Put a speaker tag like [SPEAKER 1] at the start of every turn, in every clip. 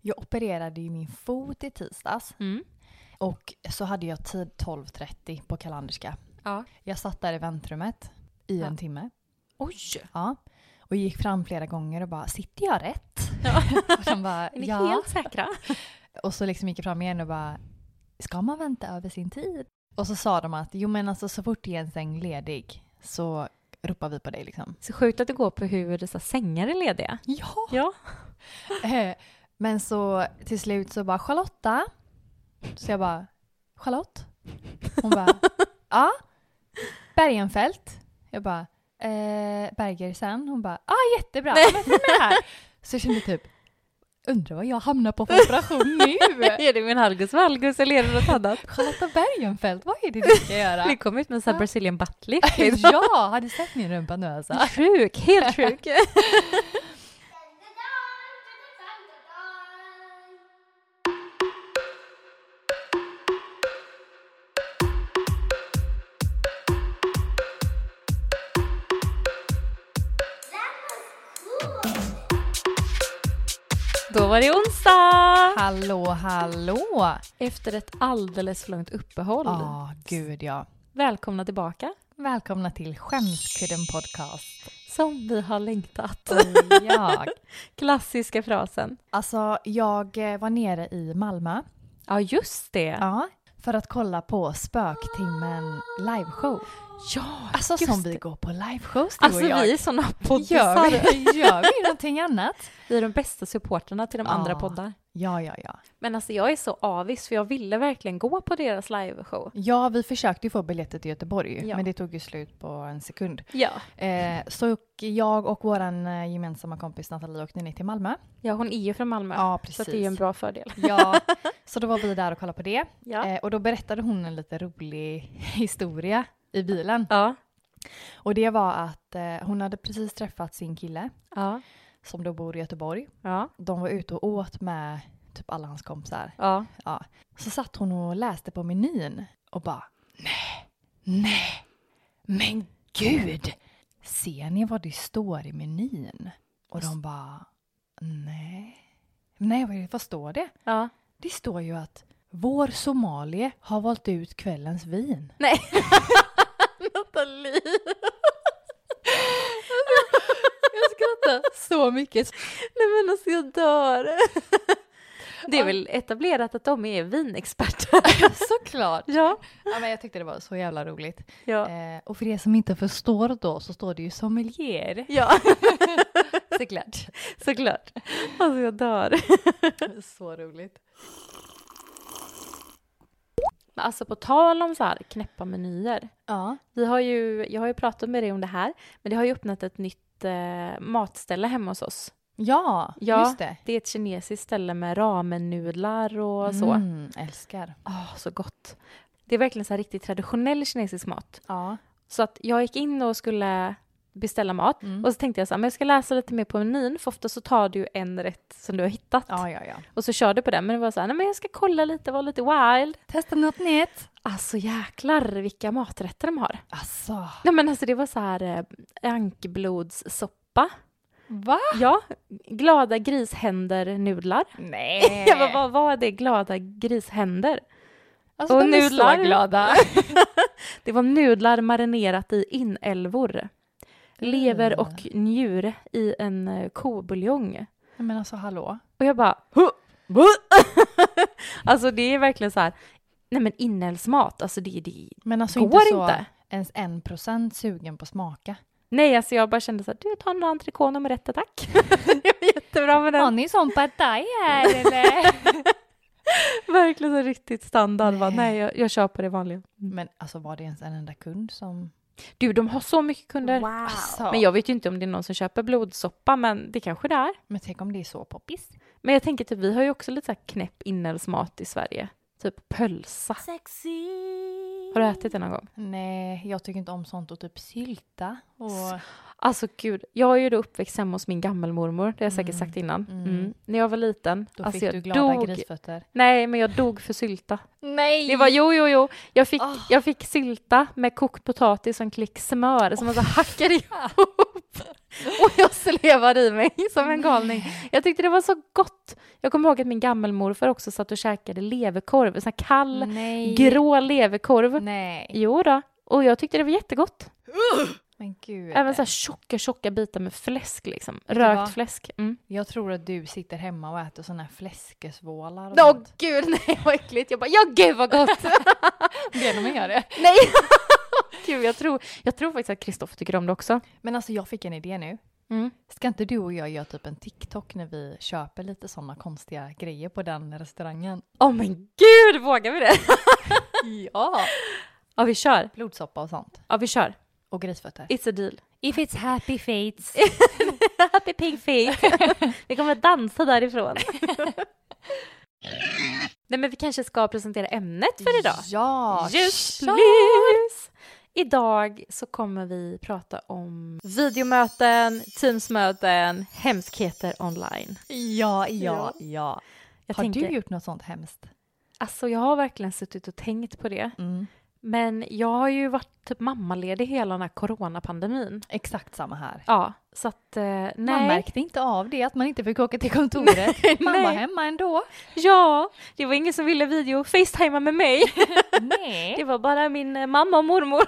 [SPEAKER 1] Jag opererade ju min fot i tisdags
[SPEAKER 2] Mm.
[SPEAKER 1] och så hade jag tid 12.30 på Kalanderska.
[SPEAKER 2] Ja.
[SPEAKER 1] Jag satt där i väntrummet i
[SPEAKER 2] Ja.
[SPEAKER 1] en timme.
[SPEAKER 2] Oj!
[SPEAKER 1] Ja. Och gick fram flera gånger och bara “sitter jag rätt?”
[SPEAKER 2] Ja.
[SPEAKER 1] och, de bara,
[SPEAKER 2] Är ni
[SPEAKER 1] ja.
[SPEAKER 2] helt säkra?
[SPEAKER 1] och så liksom gick jag fram igen och bara “ska man vänta över sin tid?” Och så sa de att “jo men alltså så fort det är en säng ledig så ropar vi på dig liksom”.
[SPEAKER 2] Så sjukt att det går på hur så här, sängar är lediga.
[SPEAKER 1] Ja!
[SPEAKER 2] Ja.
[SPEAKER 1] Eh, Men så till slut så bara Charlotta. Så jag bara Charlotte? Hon bara ja. Bergenfeldt. Jag bara eh, Bergersen. Hon bara ja ah, jättebra. Ja, Men, med här. Så jag kände typ undrar vad jag hamnar på för operation nu?
[SPEAKER 2] är det min halgus valgus eller är det något annat?
[SPEAKER 1] Charlotta Bergenfeldt, vad är det du ska
[SPEAKER 2] Vi
[SPEAKER 1] göra?
[SPEAKER 2] kom ut med så här
[SPEAKER 1] Ja.
[SPEAKER 2] Brazilian butt lift.
[SPEAKER 1] ja, har du sett min rumpa nu alltså?
[SPEAKER 2] Sjuk, helt sjuk. Då var det onsdag!
[SPEAKER 1] Hallå, hallå!
[SPEAKER 2] Efter ett alldeles för långt uppehåll.
[SPEAKER 1] Ja, gud ja.
[SPEAKER 2] Välkomna tillbaka,
[SPEAKER 1] Välkomna till Skämskudden Podcast.
[SPEAKER 2] som vi har längtat.
[SPEAKER 1] Och jag
[SPEAKER 2] Klassiska frasen.
[SPEAKER 1] Alltså jag eh, var nere i Malmö
[SPEAKER 2] Ja, just det.
[SPEAKER 1] ja. för att kolla på Spöktimmen liveshow.
[SPEAKER 2] Ja,
[SPEAKER 1] Alltså
[SPEAKER 2] just
[SPEAKER 1] som
[SPEAKER 2] det.
[SPEAKER 1] vi går på liveshows du
[SPEAKER 2] Alltså
[SPEAKER 1] och jag.
[SPEAKER 2] vi är såna
[SPEAKER 1] gör,
[SPEAKER 2] poddisar.
[SPEAKER 1] vi, gör vi någonting annat?
[SPEAKER 2] Vi är de bästa supporterna till de
[SPEAKER 1] Ja.
[SPEAKER 2] andra poddar.
[SPEAKER 1] Ja, ja, ja.
[SPEAKER 2] Men alltså jag är så avis för jag ville verkligen gå på deras liveshow.
[SPEAKER 1] Ja, vi försökte ju få biljetter till Göteborg,
[SPEAKER 2] Ja.
[SPEAKER 1] men det tog ju slut på en sekund.
[SPEAKER 2] Ja.
[SPEAKER 1] Eh, så jag och vår gemensamma kompis Nathalie åkte ner till Malmö.
[SPEAKER 2] ja, hon är ju från Malmö.
[SPEAKER 1] Ja,
[SPEAKER 2] så
[SPEAKER 1] precis.
[SPEAKER 2] att det är ju en bra fördel.
[SPEAKER 1] Ja, så då var vi där och kollade på det.
[SPEAKER 2] Ja.
[SPEAKER 1] Eh, och då berättade hon en lite rolig historia i bilen.
[SPEAKER 2] Ja.
[SPEAKER 1] Och det var att eh, hon hade precis träffat sin kille
[SPEAKER 2] Ja.
[SPEAKER 1] som då bor i Göteborg.
[SPEAKER 2] Ja.
[SPEAKER 1] De var ute och åt med typ alla hans kompisar.
[SPEAKER 2] Ja.
[SPEAKER 1] Så satt hon och läste på menyn och bara nej, nej, men gud! Ser ni vad det står i menyn? Och de bara nej. Nej, vad, är det- vad står det?
[SPEAKER 2] ja.
[SPEAKER 1] Det står ju att vår somalie har valt ut kvällens vin.
[SPEAKER 2] Nej. Nathalie.
[SPEAKER 1] Jag skrattar så mycket.
[SPEAKER 2] Nej men alltså jag dör. Det är väl etablerat att de är vinexperter.
[SPEAKER 1] Såklart.
[SPEAKER 2] Ja.
[SPEAKER 1] Ja, men jag tyckte det var så jävla roligt.
[SPEAKER 2] Ja.
[SPEAKER 1] Eh, och för er som inte förstår då så står det ju sommelier.
[SPEAKER 2] Ja,
[SPEAKER 1] Såklart.
[SPEAKER 2] såklart. Alltså jag dör.
[SPEAKER 1] så roligt.
[SPEAKER 2] Men alltså på tal om så här knäppa menyer.
[SPEAKER 1] Ja.
[SPEAKER 2] Vi har ju, jag har ju pratat med dig om det här, men det har ju öppnat ett nytt eh, matställe hemma hos oss.
[SPEAKER 1] Ja,
[SPEAKER 2] Ja.
[SPEAKER 1] just det.
[SPEAKER 2] Det är ett kinesiskt ställe med ramen-nudlar och så.
[SPEAKER 1] Mm, älskar.
[SPEAKER 2] Åh, så gott. Det är verkligen så här riktigt traditionell kinesisk mat.
[SPEAKER 1] Ja.
[SPEAKER 2] Så att jag gick in och skulle beställa mat
[SPEAKER 1] Mm.
[SPEAKER 2] och så tänkte jag så här, men jag ska läsa lite mer på menyn för ofta så tar du ju en rätt som du har hittat
[SPEAKER 1] ja, ja, ja.
[SPEAKER 2] och så kör du på den men det var så här, nej men jag ska kolla lite, vara lite wild.
[SPEAKER 1] Testa något nytt.
[SPEAKER 2] Alltså jäklar vilka maträtter de har.
[SPEAKER 1] Alltså,
[SPEAKER 2] Nej men alltså det var så här eh, ankblodssoppa.
[SPEAKER 1] va?
[SPEAKER 2] Ja, glada grishänder nudlar.
[SPEAKER 1] Nej.
[SPEAKER 2] Jag bara, vad var det glada grishänder?
[SPEAKER 1] alltså,
[SPEAKER 2] och
[SPEAKER 1] de är
[SPEAKER 2] nudlar.
[SPEAKER 1] så glada.
[SPEAKER 2] Det var nudlar marinerat i inälvor.
[SPEAKER 1] Mm.
[SPEAKER 2] Lever och njure i en eh, kobuljong.
[SPEAKER 1] Nej, Men alltså hallå.
[SPEAKER 2] Och jag bara, "Huh? Va?" Alltså det är verkligen så här, nej men inälvsmat, alltså det, det
[SPEAKER 1] Men alltså
[SPEAKER 2] går
[SPEAKER 1] inte så
[SPEAKER 2] inte.
[SPEAKER 1] ens en procent sugen på att smaka.
[SPEAKER 2] Nej, alltså jag bara kände så här, du tar några entrecôte med rätta tack. det var jättebra med
[SPEAKER 1] Har
[SPEAKER 2] den.
[SPEAKER 1] ni sån pad thai här eller?
[SPEAKER 2] Verkligen så riktigt standard. va?
[SPEAKER 1] Nej.
[SPEAKER 2] Nej, jag, jag kör på det vanliga.
[SPEAKER 1] Men alltså var det ens en enda kund som...
[SPEAKER 2] Du, de har så mycket kunder.
[SPEAKER 1] Alltså.
[SPEAKER 2] Men jag vet ju inte om det är någon som köper blodsoppa, men det kanske det är.
[SPEAKER 1] Men tänk om det är så poppis.
[SPEAKER 2] Men jag tänker typ, vi har ju också lite så här knäpp inälvsmat i Sverige. Typ pölsa. Har du ätit det någon gång?
[SPEAKER 1] Nej, jag tycker inte om sånt och typ sylta. Och...
[SPEAKER 2] Alltså gud, jag är ju då uppväxt hemma hos min gammelmormor, det har jag säkert sagt innan. Mm. När jag var liten.
[SPEAKER 1] Då
[SPEAKER 2] alltså,
[SPEAKER 1] fick
[SPEAKER 2] jag
[SPEAKER 1] du glada
[SPEAKER 2] dog-
[SPEAKER 1] grisfötter.
[SPEAKER 2] Nej, men jag dog för sylta.
[SPEAKER 1] Nej!
[SPEAKER 2] Det var jo, jo, jo. Jag fick,
[SPEAKER 1] Ah.
[SPEAKER 2] jag fick sylta med kokt potatis och en klick smör som man så hackade ihop. Och jag slevade i mig som en galning. Jag tyckte det var så gott. Jag kommer ihåg att min gammelmorfar också satt och käkade leverkorv, sån här kall,
[SPEAKER 1] Nej.
[SPEAKER 2] grå leverkorv.
[SPEAKER 1] Nej.
[SPEAKER 2] Jo då. och jag tyckte det var jättegott.
[SPEAKER 1] Men gud.
[SPEAKER 2] Även så här tjocka, tjocka bitar med fläsk liksom.
[SPEAKER 1] du vad?
[SPEAKER 2] Rökt fläsk. Mm.
[SPEAKER 1] Jag tror att du sitter hemma och äter såna här fläskesvålar. och
[SPEAKER 2] Åh
[SPEAKER 1] sånt.
[SPEAKER 2] gud, nej vad äckligt. Jag bara, ja gud vad gott.
[SPEAKER 1] Ber de mig göra det?
[SPEAKER 2] nej. gud, jag tror, jag tror faktiskt att Kristoffer tycker om det också.
[SPEAKER 1] Men alltså jag fick en idé nu.
[SPEAKER 2] Mm.
[SPEAKER 1] Ska inte du och jag göra typ en TikTok när vi köper lite såna konstiga grejer på den restaurangen?
[SPEAKER 2] Åh men gud, vågar vi det?
[SPEAKER 1] Ja!
[SPEAKER 2] ja, vi kör.
[SPEAKER 1] Blodsoppa och sånt.
[SPEAKER 2] Ja, vi kör.
[SPEAKER 1] Och grisfötter.
[SPEAKER 2] It's a deal.
[SPEAKER 3] If it's happy fates.
[SPEAKER 2] Happy pig face. vi kommer att dansa därifrån. Nej, men vi kanske ska presentera ämnet för idag.
[SPEAKER 1] Ja!
[SPEAKER 2] Just
[SPEAKER 1] kör!
[SPEAKER 2] please! Idag så kommer vi prata om videomöten, teamsmöten, hemskheter online.
[SPEAKER 1] Ja, ja, ja.
[SPEAKER 2] Jag
[SPEAKER 1] Har
[SPEAKER 2] tänker,
[SPEAKER 1] du gjort något sånt hemskt?
[SPEAKER 2] Alltså jag har verkligen suttit och tänkt på det.
[SPEAKER 1] Mm.
[SPEAKER 2] Men jag har ju varit typ mammaledig hela den här coronapandemin.
[SPEAKER 1] Exakt samma här.
[SPEAKER 2] Ja, så att eh, nej.
[SPEAKER 1] Man märkte inte av det, att man inte fick åka till kontoret. man var
[SPEAKER 2] nej.
[SPEAKER 1] hemma ändå.
[SPEAKER 2] Ja, det var ingen som ville video facetima med mig. Det
[SPEAKER 1] Nej.
[SPEAKER 2] var bara min eh, mamma och mormor.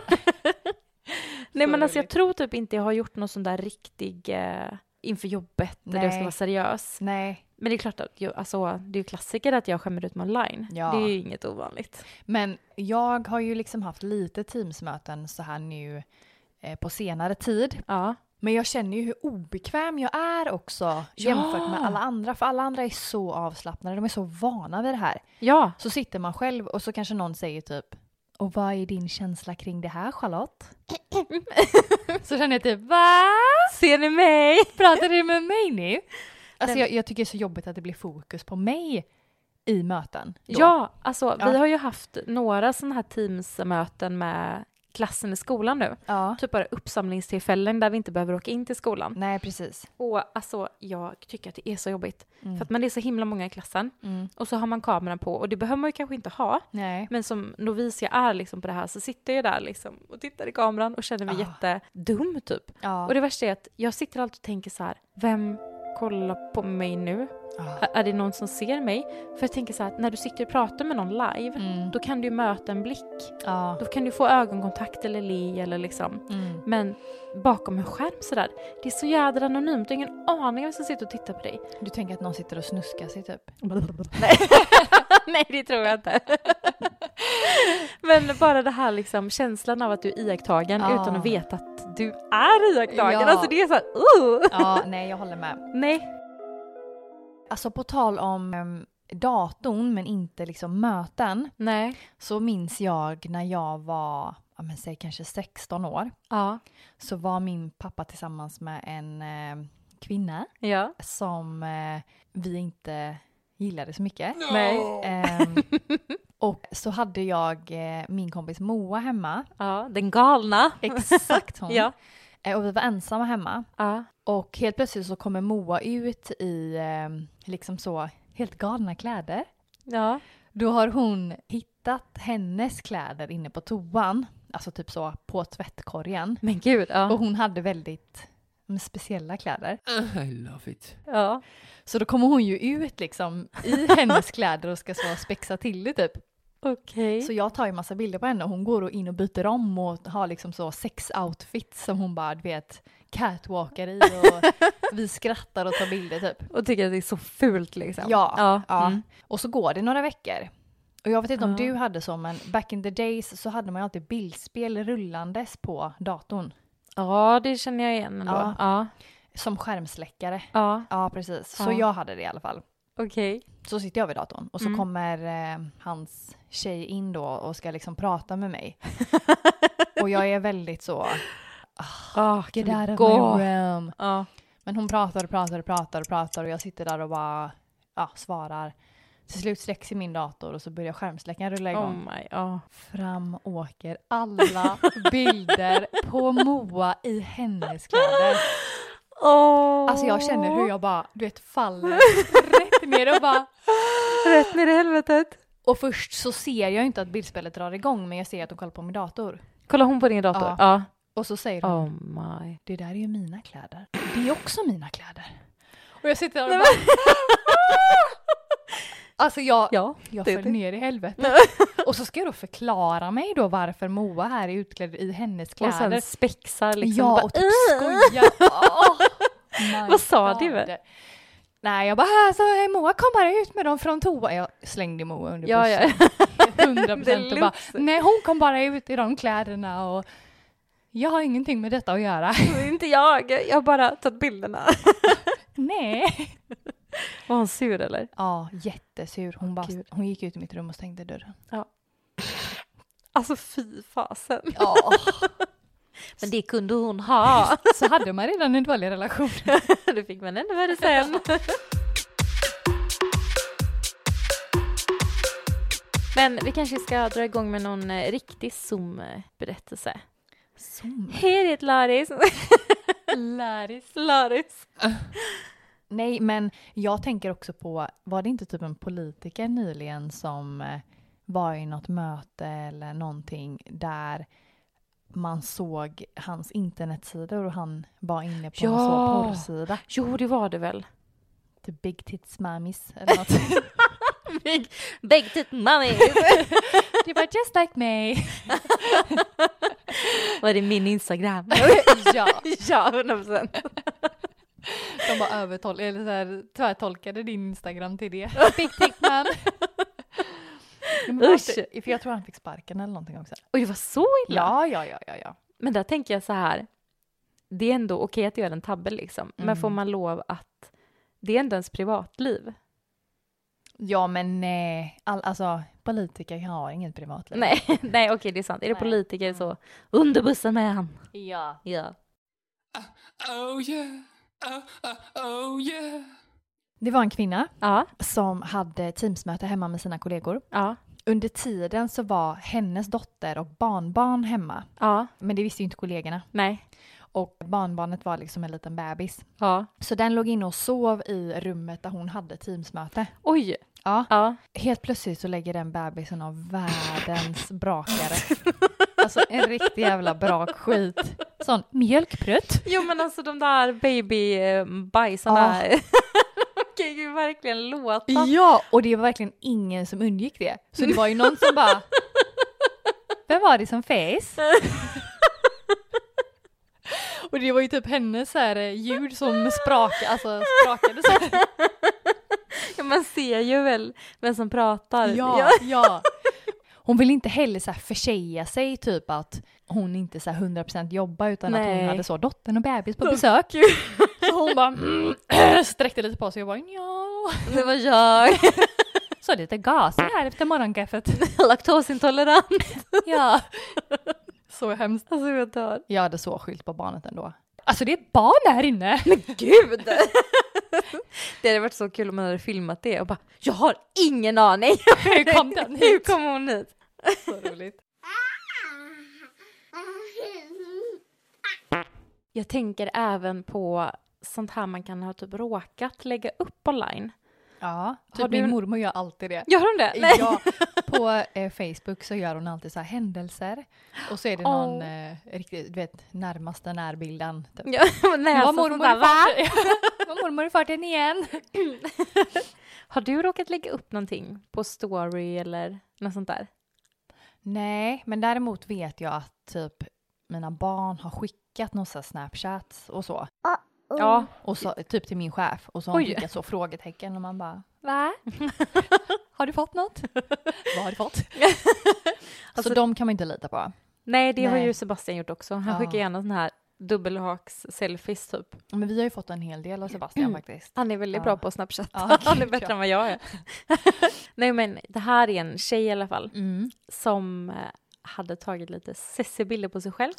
[SPEAKER 2] Nej men alltså jag
[SPEAKER 1] roligt.
[SPEAKER 2] tror typ inte jag har gjort någon sån där riktig eh, inför jobbet där jag ska
[SPEAKER 1] Nej.
[SPEAKER 2] vara seriös.
[SPEAKER 1] Nej.
[SPEAKER 2] Men det är klart att jag, alltså, det är ju klassiker att jag skämmer ut mig online.
[SPEAKER 1] Ja.
[SPEAKER 2] Det är ju inget ovanligt.
[SPEAKER 1] Men jag har ju liksom haft lite teamsmöten så här nu eh, på senare tid.
[SPEAKER 2] Ja.
[SPEAKER 1] Men jag känner ju hur obekväm jag är också jämfört med
[SPEAKER 2] Ja.
[SPEAKER 1] alla andra. För alla andra är så avslappnade, de är så vana vid det här.
[SPEAKER 2] Ja.
[SPEAKER 1] Så sitter man själv och så kanske någon säger typ och vad är din känsla kring det här Charlotte? så känner jag typ va?
[SPEAKER 2] Ser ni mig?
[SPEAKER 1] Pratar du med mig nu? Alltså
[SPEAKER 2] Den-
[SPEAKER 1] jag, jag tycker det är så jobbigt att det blir fokus på mig i möten. då.
[SPEAKER 2] Ja, alltså
[SPEAKER 1] Ja.
[SPEAKER 2] vi har ju haft några sådana här teamsmöten med klassen i skolan nu.
[SPEAKER 1] ja.
[SPEAKER 2] Typ bara uppsamlingstillfällen där vi inte behöver åka in till skolan.
[SPEAKER 1] Nej precis.
[SPEAKER 2] Och alltså jag tycker att det är så jobbigt.
[SPEAKER 1] Mm.
[SPEAKER 2] För att man är så himla många i klassen
[SPEAKER 1] Mm.
[SPEAKER 2] och så har man kameran på och det behöver man ju kanske inte ha.
[SPEAKER 1] Nej.
[SPEAKER 2] Men som novis jag är liksom på det här så sitter jag där liksom och tittar i kameran och känner mig
[SPEAKER 1] Ah.
[SPEAKER 2] jättedum typ.
[SPEAKER 1] Ja.
[SPEAKER 2] Och det värsta är att jag sitter alltid och tänker så här, vem kollar på mig nu?
[SPEAKER 1] Ja.
[SPEAKER 2] Ä- Är det någon som ser mig? För jag tänker så här, att när du sitter och pratar med någon live,
[SPEAKER 1] Mm.
[SPEAKER 2] då kan du ju möta en blick.
[SPEAKER 1] Ja.
[SPEAKER 2] Då kan du få ögonkontakt eller le eller liksom.
[SPEAKER 1] Mm.
[SPEAKER 2] Men bakom en skärm sådär, det är så jädra anonymt. Du har ingen aning om vem som sitter och tittar på dig.
[SPEAKER 1] Du tänker att någon sitter och snuskar sig typ?
[SPEAKER 2] Nej. Nej, det tror jag inte. Men bara det här liksom, känslan av att du är iakttagen
[SPEAKER 1] Ja.
[SPEAKER 2] utan att veta att du är iakttagen.
[SPEAKER 1] Ja.
[SPEAKER 2] Alltså det är så här, uh.
[SPEAKER 1] Ja, nej jag håller med.
[SPEAKER 2] Nej.
[SPEAKER 1] Alltså på tal om em, datorn men inte liksom möten
[SPEAKER 2] Nej.
[SPEAKER 1] så minns jag när jag var, ja men säg kanske 16 år
[SPEAKER 2] Ja.
[SPEAKER 1] så var min pappa tillsammans med en eh, kvinna
[SPEAKER 2] Ja.
[SPEAKER 1] som eh, vi inte gillade så mycket.
[SPEAKER 2] Nej.
[SPEAKER 1] Em, Ehm, och så hade jag eh, min kompis Moa hemma,
[SPEAKER 2] Ja, den galna.
[SPEAKER 1] exakt hon.
[SPEAKER 2] Ja.
[SPEAKER 1] Eh, och vi var ensamma hemma.
[SPEAKER 2] Ja.
[SPEAKER 1] Och helt plötsligt så kommer Moa ut i em, liksom så helt galna kläder.
[SPEAKER 2] Ja.
[SPEAKER 1] Då har hon hittat hennes kläder inne på toan, alltså typ så på tvättkorgen.
[SPEAKER 2] Men gud.
[SPEAKER 1] Och
[SPEAKER 2] Ja.
[SPEAKER 1] hon hade väldigt mm, speciella kläder.
[SPEAKER 4] I love it.
[SPEAKER 2] Ja.
[SPEAKER 1] Så då kommer hon ju ut liksom i hennes kläder och ska så spexa till det typ.
[SPEAKER 2] Okej.
[SPEAKER 1] Så jag tar ju massa bilder på henne och hon går och in och byter om och har liksom så sex outfits som hon bara du vet catwalkar i och vi skrattar och tar bilder typ.
[SPEAKER 2] Och tycker att det är så fult liksom.
[SPEAKER 1] Ja,
[SPEAKER 2] Ja.
[SPEAKER 1] ja.
[SPEAKER 2] Mm.
[SPEAKER 1] Och så går det några veckor. Och jag vet inte om
[SPEAKER 2] Ja.
[SPEAKER 1] du hade så men back in the days så hade man ju alltid bildspel rullandes på datorn.
[SPEAKER 2] ja, det känner jag igen ändå.
[SPEAKER 1] Ja.
[SPEAKER 2] Ja. Ja.
[SPEAKER 1] Som skärmsläckare.
[SPEAKER 2] ja.
[SPEAKER 1] Ja precis, så
[SPEAKER 2] Ja.
[SPEAKER 1] jag hade det i alla fall.
[SPEAKER 2] Okej.
[SPEAKER 1] Så sitter jag vid datorn och så
[SPEAKER 2] Mm.
[SPEAKER 1] kommer eh, hans tjej in då och ska liksom prata med mig. och jag är väldigt så,
[SPEAKER 2] Ah,
[SPEAKER 1] get
[SPEAKER 2] kan
[SPEAKER 1] out
[SPEAKER 2] du
[SPEAKER 1] of
[SPEAKER 2] gå?
[SPEAKER 1] my room.
[SPEAKER 2] Ja.
[SPEAKER 1] Men hon pratar och pratar och pratar och pratar och jag sitter där och bara ja, svarar. Till slut släcks i min dator och så börjar skärmsläckaren rulla igång.
[SPEAKER 2] Oh my, ja.
[SPEAKER 1] Fram åker alla bilder på Moa i hennes kläder.
[SPEAKER 2] Åh.
[SPEAKER 1] Alltså jag känner hur jag bara, du vet, faller rätt ner och bara
[SPEAKER 2] Rätt ner i helvetet.
[SPEAKER 1] Och först så ser jag ju inte att bildspelet drar igång men jag ser att de kollar på min dator.
[SPEAKER 2] Kollar hon på din dator?
[SPEAKER 1] Ja.
[SPEAKER 2] Ja.
[SPEAKER 1] Och så säger hon,
[SPEAKER 2] Oh my.
[SPEAKER 1] det där är ju mina kläder. Det är också mina kläder. Och jag sitter där och
[SPEAKER 2] Nej,
[SPEAKER 1] bara... Alltså jag,
[SPEAKER 2] Ja.
[SPEAKER 1] jag
[SPEAKER 2] det-
[SPEAKER 1] föll
[SPEAKER 2] det-
[SPEAKER 1] ner i helvetet. Och så ska jag då förklara mig då varför Moa här är utklädd i hennes
[SPEAKER 2] Och
[SPEAKER 1] kläder.
[SPEAKER 2] sen spexar liksom.
[SPEAKER 1] ja,
[SPEAKER 2] bara,
[SPEAKER 1] och typ
[SPEAKER 2] "Ugh."
[SPEAKER 1] skoja. Oh, my
[SPEAKER 2] Vad sa
[SPEAKER 1] God.
[SPEAKER 2] du?
[SPEAKER 1] Nej, jag bara, alltså, Moa kom bara ut med dem från toa. Jag slängde Moa under
[SPEAKER 2] Ja,
[SPEAKER 1] bussen.
[SPEAKER 2] ja.
[SPEAKER 1] hundra procent och bara
[SPEAKER 2] Deluxe.
[SPEAKER 1] nej hon kom bara ut i de kläderna och jag har ingenting med detta att göra.
[SPEAKER 2] Inte jag. Jag har bara tagit bilderna.
[SPEAKER 1] nej.
[SPEAKER 2] Var hon sur eller?
[SPEAKER 1] Ja, jättesur. Hon, bara,
[SPEAKER 2] Gud.
[SPEAKER 1] hon gick ut i mitt rum och stängde dörren.
[SPEAKER 2] Alltså fy fasen.
[SPEAKER 1] Ja,
[SPEAKER 2] Men det kunde hon ha.
[SPEAKER 1] så hade man redan en dålig relation.
[SPEAKER 2] det fick man ännu värre sen. Men vi kanske ska dra igång med någon eh, riktig Zoom-berättelse. Hej, det är Laris. Laris. Laris.
[SPEAKER 1] Nej, men jag tänker också på, var det inte typ en politiker nyligen som eh, var i något möte eller någonting där man såg hans internetsidor och han var inne på en
[SPEAKER 2] Ja.
[SPEAKER 1] sån porrsida.
[SPEAKER 2] Jo, det var det väl.
[SPEAKER 1] The Big Tits Mammies eller något.
[SPEAKER 2] Big, big tit money.
[SPEAKER 1] Det var just like me.
[SPEAKER 2] Var det min Instagram?
[SPEAKER 1] ja,
[SPEAKER 2] ja, 100 procent.
[SPEAKER 1] de bara övertol- eller så här, tvärtolkade din Instagram till det. Big dick man.
[SPEAKER 2] Usch.
[SPEAKER 1] För jag tror han fick sparken eller någonting också.
[SPEAKER 2] Och det var så illa?
[SPEAKER 1] Ja, ja, ja, ja, ja.
[SPEAKER 2] Men där tänker jag så här, det är ändå okej att göra en tabbe liksom, men
[SPEAKER 1] Mm.
[SPEAKER 2] får man lov att, det är ändå ens privatliv.
[SPEAKER 1] Ja, men nej. All, alltså, politiker har inget privatliv.
[SPEAKER 2] Nej, nej okej det är sant. Är det
[SPEAKER 1] Nej.
[SPEAKER 2] politiker så, under bussen med han.
[SPEAKER 1] Ja.
[SPEAKER 2] Ja.
[SPEAKER 4] Oh yeah. Oh, oh, oh yeah.
[SPEAKER 1] Det var en kvinna
[SPEAKER 2] Ja,
[SPEAKER 1] som hade teamsmöte hemma med sina kollegor.
[SPEAKER 2] ja,
[SPEAKER 1] Under tiden så var hennes dotter och barnbarn hemma.
[SPEAKER 2] ja,
[SPEAKER 1] Men det visste ju inte kollegorna.
[SPEAKER 2] nej,
[SPEAKER 1] Och barnbarnet var liksom en liten bebis.
[SPEAKER 2] ja.
[SPEAKER 1] Så den låg inne och sov i rummet där hon hade teamsmöte.
[SPEAKER 2] Oj,
[SPEAKER 1] Ja.
[SPEAKER 2] ja.
[SPEAKER 1] Helt plötsligt så lägger den bebisen av världens brakare. Alltså en riktig jävla brakskit. Sån mjölkprutt.
[SPEAKER 2] Jo men alltså de där eh, babybajsarna.
[SPEAKER 1] Ja.
[SPEAKER 2] Ja. kan ju verkligen låta.
[SPEAKER 1] Ja, och det var verkligen ingen som undgick det. Så det var ju någon som bara... Vem var det som fes? Och det var ju typ hennes så här eh, ljud som sprakade, alltså sprakade så här.
[SPEAKER 2] Ja, man ser ju väl vem som pratar.
[SPEAKER 1] Ja, ja. Hon vill inte heller så här försäga sig typ att hon inte så här 100% jobbar utan att
[SPEAKER 2] Nej.
[SPEAKER 1] hon hade så dottern och bebis på besök. Så hon bara mm, sträckte lite på sig och bara ja.
[SPEAKER 2] Det var jag,
[SPEAKER 1] Så lite gasig här efter morgonkaffet.
[SPEAKER 2] laktosintolerant.
[SPEAKER 1] Ja. Så hemskt.
[SPEAKER 2] Alltså jag dör.
[SPEAKER 1] Jag hade så skylt på barnet ändå. Alltså det är ett barn här inne.
[SPEAKER 2] Men gud! Det hade varit så kul om man hade filmat det och bara “Jag har ingen aning!”
[SPEAKER 1] Hur kom den
[SPEAKER 2] Hur
[SPEAKER 1] hit?
[SPEAKER 2] kom hon hit?
[SPEAKER 1] Så roligt.
[SPEAKER 2] Jag tänker även på sånt här man kan ha typ råkat lägga upp online.
[SPEAKER 1] Ja,
[SPEAKER 2] Har
[SPEAKER 1] typ
[SPEAKER 2] du-
[SPEAKER 1] min mormor gör alltid det.
[SPEAKER 2] Gör hon det? Nej.
[SPEAKER 1] Ja, på eh, Facebook så gör hon alltid så här händelser. Och så är det någon
[SPEAKER 2] Åh.
[SPEAKER 1] eh, riktigt, du vet, närmaste närbilden. Typ.
[SPEAKER 2] Ja, nej,
[SPEAKER 1] Nu var
[SPEAKER 2] alltså,
[SPEAKER 1] mormor
[SPEAKER 2] sånt där, va?
[SPEAKER 1] i farten- var mormor i farten igen.
[SPEAKER 2] Har du råkat lägga upp någonting på story eller något sånt där?
[SPEAKER 1] Nej, men däremot vet jag att typ mina barn har skickat någon så här snapchat och så.
[SPEAKER 2] Ja.
[SPEAKER 1] Och så typ till min chef. Och så har hon
[SPEAKER 2] Oj.
[SPEAKER 1] skickat så frågetecken och man bara
[SPEAKER 2] Va?
[SPEAKER 1] Har du fått något? Alltså, Vad har du fått? så de kan man inte lita på.
[SPEAKER 2] Nej, det har
[SPEAKER 1] Nej.
[SPEAKER 2] ju Sebastian gjort också. Han
[SPEAKER 1] Ja.
[SPEAKER 2] skickar gärna sån här dubbelhaks-selfies typ.
[SPEAKER 1] Men vi har ju fått en hel del av Sebastian faktiskt.
[SPEAKER 2] Han är väldigt
[SPEAKER 1] Ja.
[SPEAKER 2] bra på Snapchat.
[SPEAKER 1] Ja,
[SPEAKER 2] Han är
[SPEAKER 1] bra.
[SPEAKER 2] bättre än vad jag är. Nej men det här är en tjej i alla fall
[SPEAKER 1] Mm.
[SPEAKER 2] som eh, hade tagit lite sessi-bilder på sig själv.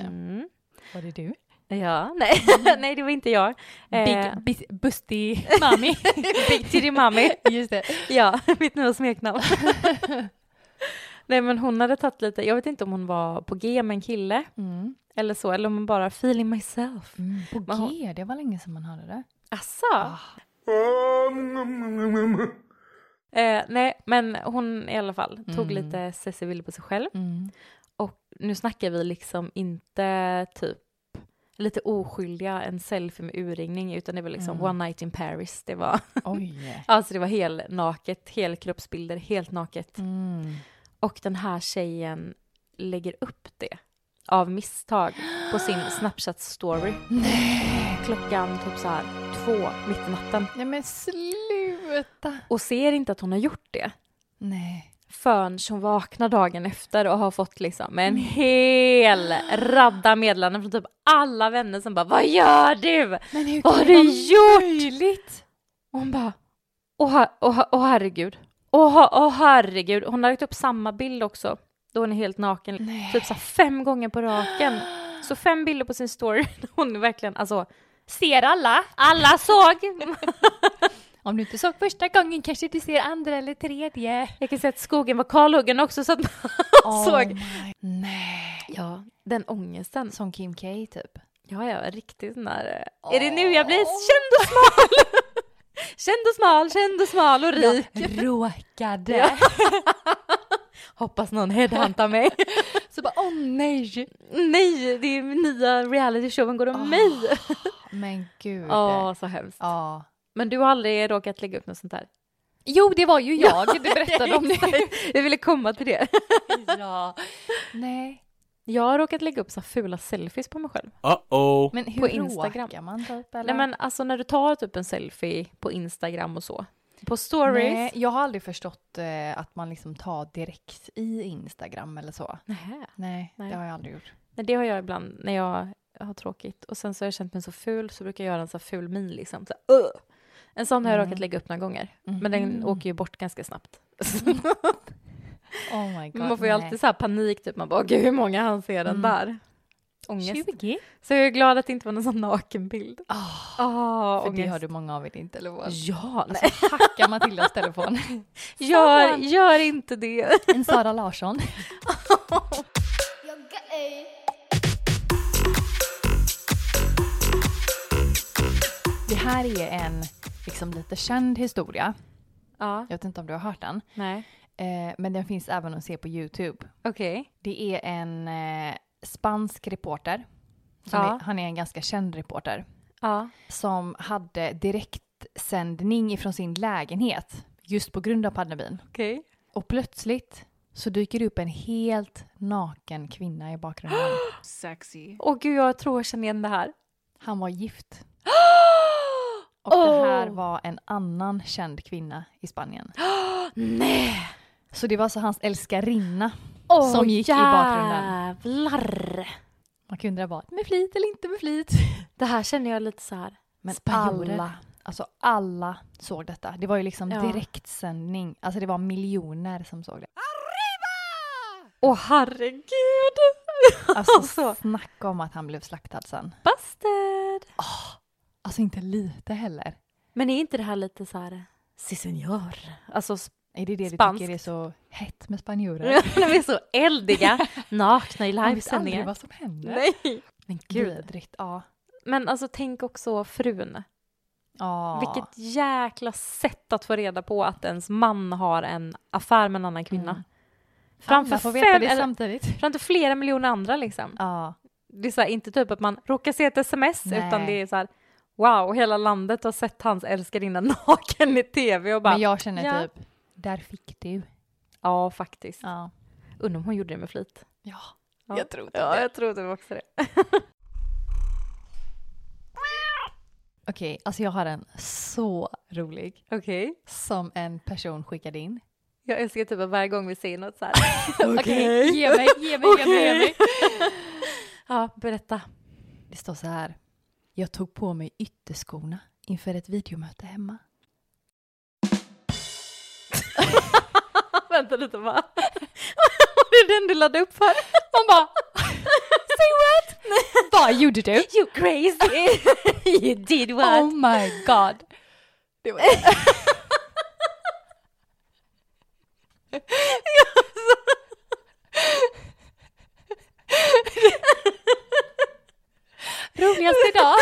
[SPEAKER 2] Mm.
[SPEAKER 1] Var det du?
[SPEAKER 2] Ja, nej. nej det var inte jag. Eh,
[SPEAKER 1] Mm. Big, bis, busty mami.
[SPEAKER 2] Big Titty Mommy.
[SPEAKER 1] Just det.
[SPEAKER 2] Ja, mitt nya smeknamn. nej men hon hade tagit lite, jag vet inte om hon var på G med en kille
[SPEAKER 1] Mm.
[SPEAKER 2] eller så, eller om hon bara feeling myself.
[SPEAKER 1] På
[SPEAKER 2] Men hon-
[SPEAKER 1] G, det var länge sedan man hörde det.
[SPEAKER 2] Asså?
[SPEAKER 4] Oh,
[SPEAKER 2] Eh, nej, men hon i alla fall tog
[SPEAKER 1] Mm.
[SPEAKER 2] lite sessi-bilder på sig själv.
[SPEAKER 1] Mm.
[SPEAKER 2] Och nu snackar vi liksom inte typ lite oskyldiga, en selfie med urringning, utan det var liksom
[SPEAKER 1] Mm.
[SPEAKER 2] one night in Paris. Det var,
[SPEAKER 1] Oj.
[SPEAKER 2] alltså det var helnaket, helkroppsbilder, helt naket.
[SPEAKER 1] Mm.
[SPEAKER 2] Och den här tjejen lägger upp det av misstag på sin Snapchat-story. Klockan typ så här två, mitt i natten.
[SPEAKER 1] Nej men sluta.
[SPEAKER 2] Och ser inte att hon har gjort det.
[SPEAKER 1] Nej.
[SPEAKER 2] förrän hon vaknar dagen efter och har fått liksom
[SPEAKER 1] Mm.
[SPEAKER 2] en hel radda meddelanden från typ alla vänner som bara “Vad gör du?
[SPEAKER 1] Men hur
[SPEAKER 2] Vad har
[SPEAKER 1] kan
[SPEAKER 2] du
[SPEAKER 1] det vara
[SPEAKER 2] gjort?”
[SPEAKER 1] möjligt?
[SPEAKER 2] Och hon bara “Åh her- åh, her- åh, herregud, åh, her- åh herregud”. Hon har lagt upp samma bild också då hon är helt naken,
[SPEAKER 1] Nej.
[SPEAKER 2] typ så här fem gånger på raken. Så fem bilder på sin story, hon är verkligen alltså Ser alla? Alla såg!
[SPEAKER 3] Om du inte såg första gången kanske du ser andra eller tredje.
[SPEAKER 2] Jag kan säga att skogen var kalhuggen också så att man såg.
[SPEAKER 1] Oh my- Nej.
[SPEAKER 2] Ja, den ångesten.
[SPEAKER 1] Som Kim K typ.
[SPEAKER 2] Ja, jag var riktigt sån där... eh, Är det nu jag blir känd och smal? känd och smal, känd och smal och rik.
[SPEAKER 3] Råkade.
[SPEAKER 2] Hoppas någon headhuntar mig.
[SPEAKER 1] Så bara åh nej.
[SPEAKER 2] Nej, det är nya realityshowen går om mig.
[SPEAKER 1] Men gud.
[SPEAKER 2] Ja, så hemskt.
[SPEAKER 1] Ja.
[SPEAKER 2] Men du har aldrig råkat lägga upp något sånt där?
[SPEAKER 1] Jo det var ju jag du berättade om nu.
[SPEAKER 2] Exakt. Jag ville komma till det.
[SPEAKER 1] ja. Nej.
[SPEAKER 2] Jag har råkat lägga upp så här fula selfies på mig själv.
[SPEAKER 5] Uh-oh.
[SPEAKER 1] Men hur
[SPEAKER 2] På Instagram.
[SPEAKER 1] råkar man typ eller?
[SPEAKER 2] Nej men alltså när du tar typ en selfie på Instagram och så. På stories.
[SPEAKER 1] Nej, jag har aldrig förstått eh, att man liksom tar direkt i Instagram eller så.
[SPEAKER 2] Nähä.
[SPEAKER 1] Nej,
[SPEAKER 2] Nej.
[SPEAKER 1] det har jag aldrig gjort.
[SPEAKER 2] Nej, det har jag ibland när jag har tråkigt. Och sen så har jag känt mig så ful så brukar jag göra en så här ful min liksom. Så här, "Ugh." En sån har jag
[SPEAKER 1] Mm.
[SPEAKER 2] råkat lägga upp några gånger. Men den åker ju bort ganska snabbt.
[SPEAKER 1] Oh my god.
[SPEAKER 2] man får ju
[SPEAKER 1] nej.
[SPEAKER 2] alltid så här panik typ. Man bara, gud hur många han ser den
[SPEAKER 1] Mm.
[SPEAKER 2] där? Ångest.
[SPEAKER 3] 20.
[SPEAKER 2] Så jag är glad att det inte var någon sån nakenbild.
[SPEAKER 1] Ah,
[SPEAKER 2] Oh,
[SPEAKER 1] för det har du många av i din telefon.
[SPEAKER 2] Ja, nej.
[SPEAKER 1] Alltså, hacka Matildas telefon.
[SPEAKER 2] Gör, gör inte det.
[SPEAKER 1] En Sara Larsson. Det här är en liksom lite känd historia.
[SPEAKER 2] Ja,
[SPEAKER 1] Jag vet inte om du har hört den.
[SPEAKER 2] nej.
[SPEAKER 1] Eh, men den finns även att se på Youtube.
[SPEAKER 2] Okej.
[SPEAKER 1] Det är en eh, spansk reporter. Som
[SPEAKER 2] Ja.
[SPEAKER 1] är, han är en ganska känd reporter.
[SPEAKER 2] Ja.
[SPEAKER 1] Som hade direktsändning ifrån sin lägenhet. Just på grund av pandemin.
[SPEAKER 2] Okej.
[SPEAKER 1] Och plötsligt så dyker det upp en helt naken kvinna i bakgrunden.
[SPEAKER 4] Sexy.
[SPEAKER 2] Åh gud, jag tror jag känner igen det här.
[SPEAKER 1] Han var gift. Och det här
[SPEAKER 2] Oh.
[SPEAKER 1] var en annan känd kvinna i Spanien.
[SPEAKER 2] Nej!
[SPEAKER 1] Så det var alltså hans älskarinna.
[SPEAKER 2] Åh,
[SPEAKER 1] Som gick i bakgrunden.
[SPEAKER 2] Jävlar!
[SPEAKER 1] Man kunde undra vad, med flit eller inte med flit.
[SPEAKER 2] Det här känner jag lite så här.
[SPEAKER 1] Men
[SPEAKER 2] Spanjorer.
[SPEAKER 1] alla, alltså alla såg detta. Det var ju liksom
[SPEAKER 2] Ja.
[SPEAKER 1] direktsändning. Alltså det var miljoner som såg det.
[SPEAKER 2] Åh herregud!
[SPEAKER 1] Alltså
[SPEAKER 2] Så.
[SPEAKER 1] snacka om att han blev slaktad sen.
[SPEAKER 2] Busted!
[SPEAKER 1] Alltså inte lite heller.
[SPEAKER 2] Men är inte det här lite så här... eh, Si senor. Alltså, sp-
[SPEAKER 1] Är det det
[SPEAKER 2] Spanskt.
[SPEAKER 1] du tycker är så hett med spanjorer?
[SPEAKER 2] de är så eldiga, nakna i
[SPEAKER 1] Man vet aldrig
[SPEAKER 2] livesändningar.
[SPEAKER 1] vad som händer.
[SPEAKER 2] Nej! Men gud.
[SPEAKER 1] Vidrigt. Ja.
[SPEAKER 2] Men alltså tänk också frun.
[SPEAKER 1] ja.
[SPEAKER 2] Vilket jäkla sätt att få reda på att ens man har en affär med en annan kvinna.
[SPEAKER 1] Mm.
[SPEAKER 2] Framför,
[SPEAKER 1] Alla får veta
[SPEAKER 2] fem,
[SPEAKER 1] det
[SPEAKER 2] eller,
[SPEAKER 1] samtidigt.
[SPEAKER 2] framför flera miljoner andra liksom.
[SPEAKER 1] Ja.
[SPEAKER 2] det är så här, inte typ att man råkar se ett sms
[SPEAKER 1] Nej.
[SPEAKER 2] utan det är så här wow, hela landet har sett hans älskarinna naken i tv och bara
[SPEAKER 1] Men jag känner
[SPEAKER 2] ja.
[SPEAKER 1] typ, där fick du.
[SPEAKER 2] ja faktiskt.
[SPEAKER 1] Ja.
[SPEAKER 2] Undrar om hon gjorde det med flit.
[SPEAKER 1] ja.
[SPEAKER 2] Ja.
[SPEAKER 1] Jag tror
[SPEAKER 2] Ja,
[SPEAKER 1] det.
[SPEAKER 2] jag trodde också det.
[SPEAKER 1] Okej, alltså jag har en så rolig
[SPEAKER 2] Okej.
[SPEAKER 1] som en person skickade in.
[SPEAKER 2] Jag älskar typ att varje gång vi säger något så här.
[SPEAKER 1] Okej, ge mig, ge mig, ge mig, ge mig.
[SPEAKER 2] Ja, berätta.
[SPEAKER 1] Det står så här. Jag tog på mig ytterskorna inför ett videomöte hemma.
[SPEAKER 2] Vänta lite bara. det är den du laddade upp för. Hon bara Say what?
[SPEAKER 1] Vad gjorde du?
[SPEAKER 2] You crazy! you did what?
[SPEAKER 1] Oh my god. Det var Roligast idag.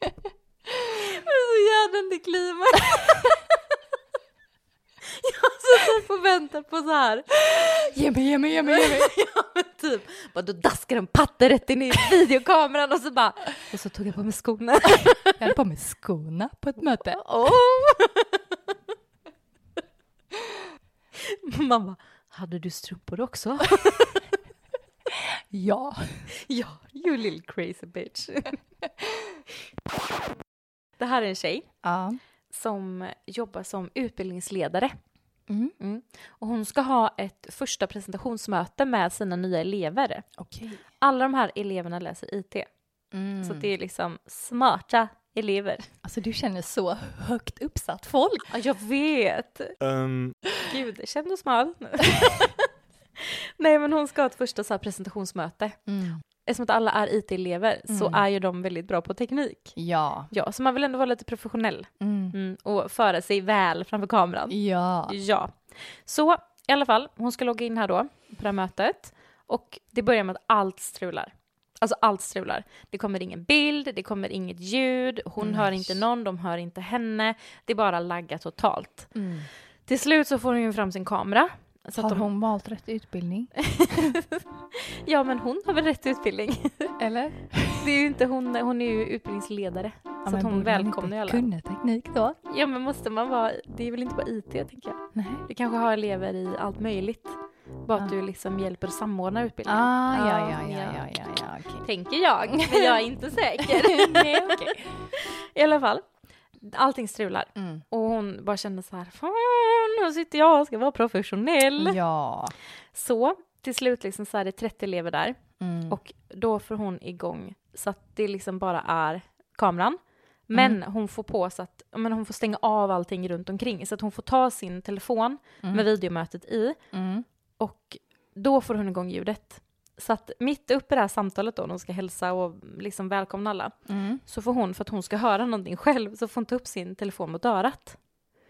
[SPEAKER 2] Det är så jävla antiklimax. Jag har suttit och väntar på så här.
[SPEAKER 1] Ge mig, ge mig, ge mig, ge mig.
[SPEAKER 2] Typ, bara, då daskar en patte rätt in i videokameran och så bara, och så tog jag på mig skorna.
[SPEAKER 1] Jag hade på mig skorna på ett möte.
[SPEAKER 2] Oh. Mamma, hade du strumpor också?
[SPEAKER 1] Ja.
[SPEAKER 2] ja, you little crazy bitch. Det här är en tjej
[SPEAKER 1] Ja.
[SPEAKER 2] som jobbar som utbildningsledare.
[SPEAKER 1] Mm.
[SPEAKER 2] Och hon ska ha ett första presentationsmöte med sina nya elever.
[SPEAKER 1] Okej. Mm.
[SPEAKER 2] Alla de här eleverna läser IT, så att det är liksom smarta elever.
[SPEAKER 1] Alltså du känner så högt uppsatt folk.
[SPEAKER 2] Ja, jag vet!
[SPEAKER 5] Um,
[SPEAKER 2] Gud, känn dig smal. Nej, men hon ska ha ett första så här presentationsmöte.
[SPEAKER 1] Mm.
[SPEAKER 2] Eftersom att alla är IT-elever så är ju de väldigt bra på teknik.
[SPEAKER 1] Ja.
[SPEAKER 2] Ja, så man vill ändå vara lite professionell
[SPEAKER 1] Mm.
[SPEAKER 2] mm, och föra sig väl framför kameran.
[SPEAKER 1] Ja.
[SPEAKER 2] Ja. Så i alla fall, hon ska logga in här då på det här mötet och det börjar med att allt strular. Alltså allt strular. Det kommer ingen bild, det kommer inget ljud, hon hör inte någon, de hör inte henne. Det bara laggar totalt.
[SPEAKER 1] Mm.
[SPEAKER 2] Till slut så får hon ju fram sin kamera. Så att
[SPEAKER 1] Har
[SPEAKER 2] de,
[SPEAKER 1] hon valt rätt utbildning?
[SPEAKER 2] Ja men hon har väl rätt utbildning.
[SPEAKER 1] Eller?
[SPEAKER 2] Det är ju inte hon, hon är ju utbildningsledare. så att hon välkomnar ju alla.
[SPEAKER 1] kunna teknik då?
[SPEAKER 2] Ja men måste man vara, det är väl inte bara IT tänker jag.
[SPEAKER 1] Nej.
[SPEAKER 2] Du kanske har elever i allt möjligt. Bara att
[SPEAKER 1] Ja.
[SPEAKER 2] du liksom hjälper att samordna utbildningen.
[SPEAKER 1] Ah, ja, ja, ja, ja, ja, ja, okej.
[SPEAKER 2] Tänker jag, men jag är inte säker.
[SPEAKER 1] Nej, okej.
[SPEAKER 2] I alla fall, allting strular.
[SPEAKER 1] Mm.
[SPEAKER 2] Och hon bara känner så här, fan, nu sitter jag och ska vara professionell.
[SPEAKER 1] Ja.
[SPEAKER 2] Så till slut liksom så är det 30 elever där
[SPEAKER 1] Mm.
[SPEAKER 2] och då får hon igång så att det liksom bara är kameran. Men
[SPEAKER 1] Mm.
[SPEAKER 2] hon får på så att men hon får stänga av allting runt omkring så att hon får ta sin telefon med videomötet i
[SPEAKER 1] Mm.
[SPEAKER 2] och då får hon igång ljudet. Så att mitt uppe i det här samtalet då, de ska hälsa och liksom välkomna alla,
[SPEAKER 1] Mm.
[SPEAKER 2] så får hon, för att hon ska höra någonting själv, så får hon ta upp sin telefon mot örat.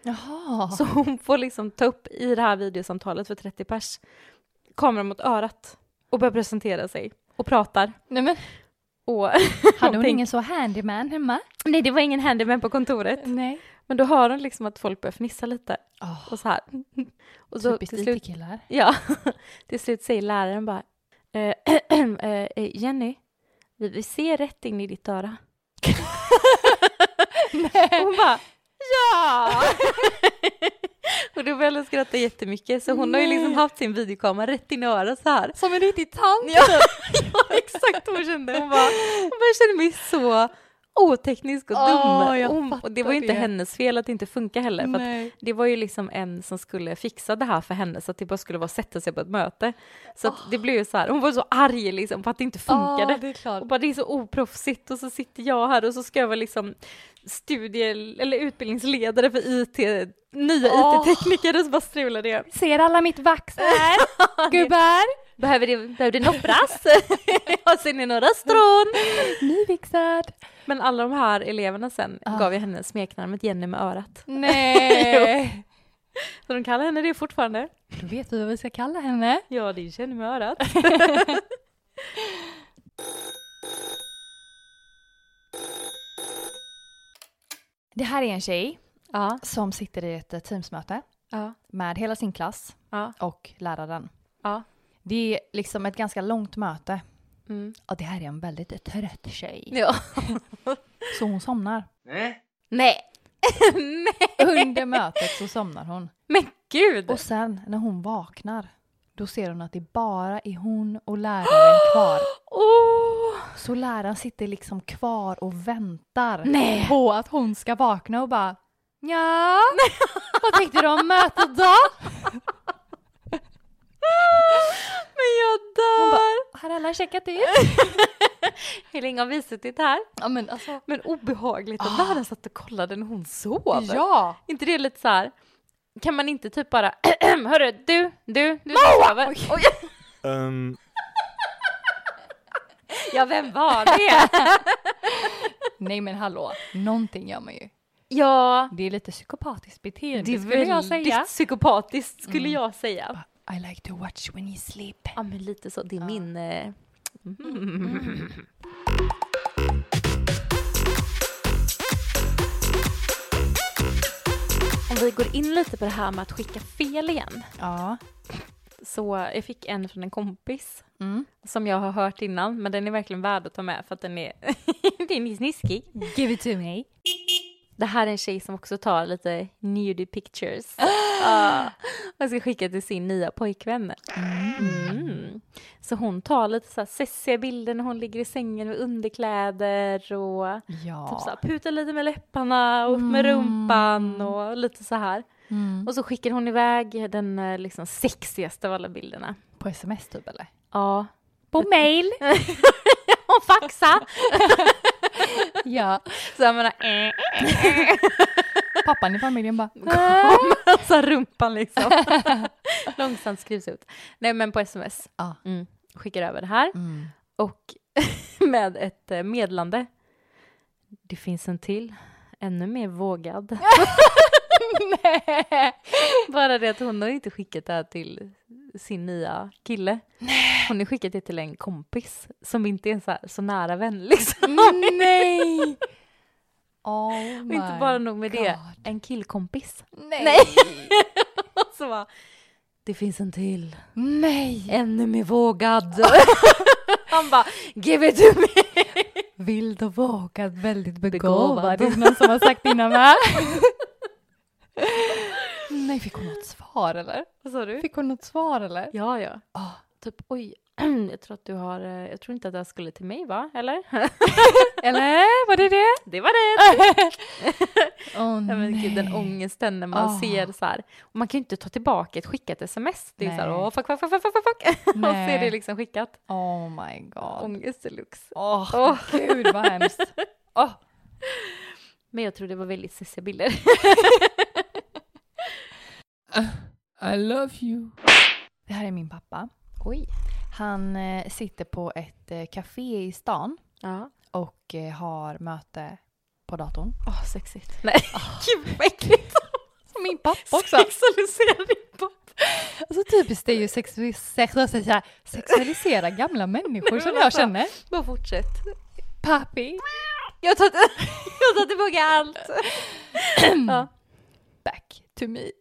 [SPEAKER 1] Jaha.
[SPEAKER 2] Så hon får liksom ta upp i det här videosamtalet för 30 pers, kameran mot örat och börjar presentera sig och pratar.
[SPEAKER 1] Nej, men,
[SPEAKER 2] Och
[SPEAKER 1] hade hon
[SPEAKER 2] tänk-
[SPEAKER 1] ingen så handyman hemma?
[SPEAKER 2] Nej, det var ingen handyman på kontoret.
[SPEAKER 1] Nej.
[SPEAKER 2] Men då hör hon liksom att folk börjar fnissa lite
[SPEAKER 1] Oh,
[SPEAKER 2] och så här. Och så
[SPEAKER 1] typiskt
[SPEAKER 2] till slut
[SPEAKER 1] IT-killar.
[SPEAKER 2] Ja, till slut säger läraren bara eh, eh, eh, Jenny, vi, vi ser rätt in i ditt öra. Och hon bara ja! och då började hon skratta jättemycket så hon har ju liksom haft sin videokamera rätt in i örat så här.
[SPEAKER 1] Som en riktig tant. typ.
[SPEAKER 2] Ja, ja exakt vad hon kände. Hon bara, hon bara jag kände mig så oteknisk och dum.
[SPEAKER 1] Åh, jag
[SPEAKER 2] Och hon, och det var ju inte
[SPEAKER 1] fattar det.
[SPEAKER 2] hennes fel att det inte funkar heller. För att det var ju liksom en som skulle fixa det här för henne så att det bara skulle vara att sätta sig på ett möte. Så att det blev ju så här, hon var så arg liksom på att det inte funkade.
[SPEAKER 1] Ja, Ah. det är klart.
[SPEAKER 2] och bara det är så oproffsigt och så sitter jag här och så ska jag vara liksom studie eller utbildningsledare för IT, nya
[SPEAKER 1] Åh.
[SPEAKER 2] IT-tekniker och så bara strular det.
[SPEAKER 1] Ser alla mitt vax här? Gubbar,
[SPEAKER 2] Behöver det, behöver det något brass? ja, ser ni några strån?
[SPEAKER 1] nyvixad.
[SPEAKER 2] Men alla de här eleverna sen
[SPEAKER 1] Ah.
[SPEAKER 2] gav ju henne smeknamnet Jenny med örat.
[SPEAKER 1] Nej.
[SPEAKER 2] Så de kallar henne det fortfarande.
[SPEAKER 1] Då vet vi vad vi ska kalla henne.
[SPEAKER 2] Ja, det är Jenny med örat.
[SPEAKER 1] Det här är en tjej
[SPEAKER 2] Ja,
[SPEAKER 1] som sitter i ett eh, Teamsmöte
[SPEAKER 2] ja,
[SPEAKER 1] med hela sin klass
[SPEAKER 2] ja,
[SPEAKER 1] och läraren.
[SPEAKER 2] ja.
[SPEAKER 1] Det är liksom ett ganska långt möte.
[SPEAKER 2] Mm.
[SPEAKER 1] Och det här är en väldigt trött tjej.
[SPEAKER 2] ja.
[SPEAKER 1] Så hon somnar.
[SPEAKER 2] Nej. Nej.
[SPEAKER 1] Under mötet så somnar hon.
[SPEAKER 2] Men gud.
[SPEAKER 1] Och sen när hon vaknar, då ser hon att det bara är hon och läraren kvar.
[SPEAKER 2] Åh.
[SPEAKER 1] Så läraren sitter liksom kvar och väntar
[SPEAKER 2] Nej.
[SPEAKER 1] på att hon ska vakna och bara ja, vad tänkte du om mötet då?
[SPEAKER 2] Men jag dör.
[SPEAKER 1] Har alla checkat ut?
[SPEAKER 2] Hur länge har vi suttit här?
[SPEAKER 1] Ja men alltså.
[SPEAKER 2] Men obehagligt att läraren satt och kollade när hon sov.
[SPEAKER 1] Ja!
[SPEAKER 2] inte det lite så här? Kan man inte typ bara, hörru, du, du, du som sover. Oj.
[SPEAKER 5] um,
[SPEAKER 2] Ja, vem var det?
[SPEAKER 1] Nej men hallå, någonting gör man ju.
[SPEAKER 2] ja,
[SPEAKER 1] Det är lite psykopatiskt beteende
[SPEAKER 2] det skulle jag säga. Mm. psykopatiskt skulle jag säga.
[SPEAKER 1] I like to watch when you sleep.
[SPEAKER 2] Ja, men lite så. Det är min... eh, Mhm. om vi går in lite på det här med att skicka fel igen.
[SPEAKER 1] Ja.
[SPEAKER 2] Så jag fick en från en kompis
[SPEAKER 1] Mm.
[SPEAKER 2] som jag har hört innan, men den är verkligen värd att ta med för att den är, den är sniskig.
[SPEAKER 3] Give it to me.
[SPEAKER 2] Det här är en tjej som också tar lite nudie pictures. Ja. och ska skicka till sin nya pojkvän. Mm. Så hon tar lite så här sessiga bilder när hon ligger i sängen med underkläder och typ så
[SPEAKER 1] Ja.
[SPEAKER 2] här, putar lite med läpparna och upp med rumpan och lite så här.
[SPEAKER 1] Mm.
[SPEAKER 2] Och så skickar hon iväg den eh, liksom sexigaste av alla bilderna.
[SPEAKER 1] På sms typ eller?
[SPEAKER 2] Ja.
[SPEAKER 3] På mail.
[SPEAKER 2] Hon faxar!
[SPEAKER 1] Ja.
[SPEAKER 2] Så jag menar, eh,
[SPEAKER 1] Pappan i familjen bara. Alltså,
[SPEAKER 2] så här rumpan liksom. Långsamt skrivs ut. Nej men på sms.
[SPEAKER 1] Ja.
[SPEAKER 2] Mm. Skickar över det här.
[SPEAKER 1] Mm.
[SPEAKER 2] Och med ett eh, meddelande. Det finns en till, ännu mer vågad. Bara det att hon har inte skickat det här till sin nya kille. Hon har skickat det till en kompis som inte är en så, här, så nära vän liksom.
[SPEAKER 1] Nej! Oh
[SPEAKER 2] Och
[SPEAKER 1] my.
[SPEAKER 2] inte bara nog med det,
[SPEAKER 1] God.
[SPEAKER 2] en killkompis.
[SPEAKER 1] Nej.
[SPEAKER 2] Så bara, det finns en till,
[SPEAKER 1] Nej.
[SPEAKER 2] ännu mer vågad. Han bara, give it to me.
[SPEAKER 1] Vild och vågad, väldigt
[SPEAKER 2] Begåvad.
[SPEAKER 1] begåvad. Det är någon som har sagt innan va? Nej, fick hon något svar eller?
[SPEAKER 2] Vad sa du?
[SPEAKER 1] Fick hon något svar eller?
[SPEAKER 2] Ja, ja.
[SPEAKER 1] Ah.
[SPEAKER 2] Typ, oj, jag tror att du har, eh, jag tror inte att det här skulle till mig va? Eller?
[SPEAKER 1] Eller var det det?
[SPEAKER 2] Det var det!
[SPEAKER 1] Åh
[SPEAKER 2] Ja, men gud, den
[SPEAKER 1] nej.
[SPEAKER 2] ångesten när man
[SPEAKER 1] Ah.
[SPEAKER 2] ser så här. Och man kan ju inte ta tillbaka ett skickat sms. Det är så här,
[SPEAKER 1] Nej.
[SPEAKER 2] åh fuck, fuck, fuck, fuck, fuck, fuck. Och så är
[SPEAKER 1] Nej.
[SPEAKER 2] det liksom skickat.
[SPEAKER 1] Oh my god.
[SPEAKER 2] Ångest deluxe.
[SPEAKER 1] Åh,
[SPEAKER 2] Åh.
[SPEAKER 1] gud vad hemskt. Åh.
[SPEAKER 2] Men jag tror det var väldigt sessiga bilder.
[SPEAKER 4] I love you.
[SPEAKER 1] Det här är min pappa.
[SPEAKER 2] Oj.
[SPEAKER 1] Han eh, sitter på ett eh, café i stan
[SPEAKER 2] Ja.
[SPEAKER 1] och eh, har möte på datorn.
[SPEAKER 2] Åh, sexigt. Nej, gud vad äckligt.
[SPEAKER 1] Min pappa också.
[SPEAKER 2] Sexualisera din pappa.
[SPEAKER 1] Alltså typiskt det är ju sexu- sex- så här, sexualisera gamla människor
[SPEAKER 2] men
[SPEAKER 1] som jag
[SPEAKER 2] alltså.
[SPEAKER 1] känner.
[SPEAKER 2] Bara fortsätt.
[SPEAKER 1] Pappi.
[SPEAKER 2] Jag tar, jag tar tillbaka allt. ja.
[SPEAKER 1] Back to me.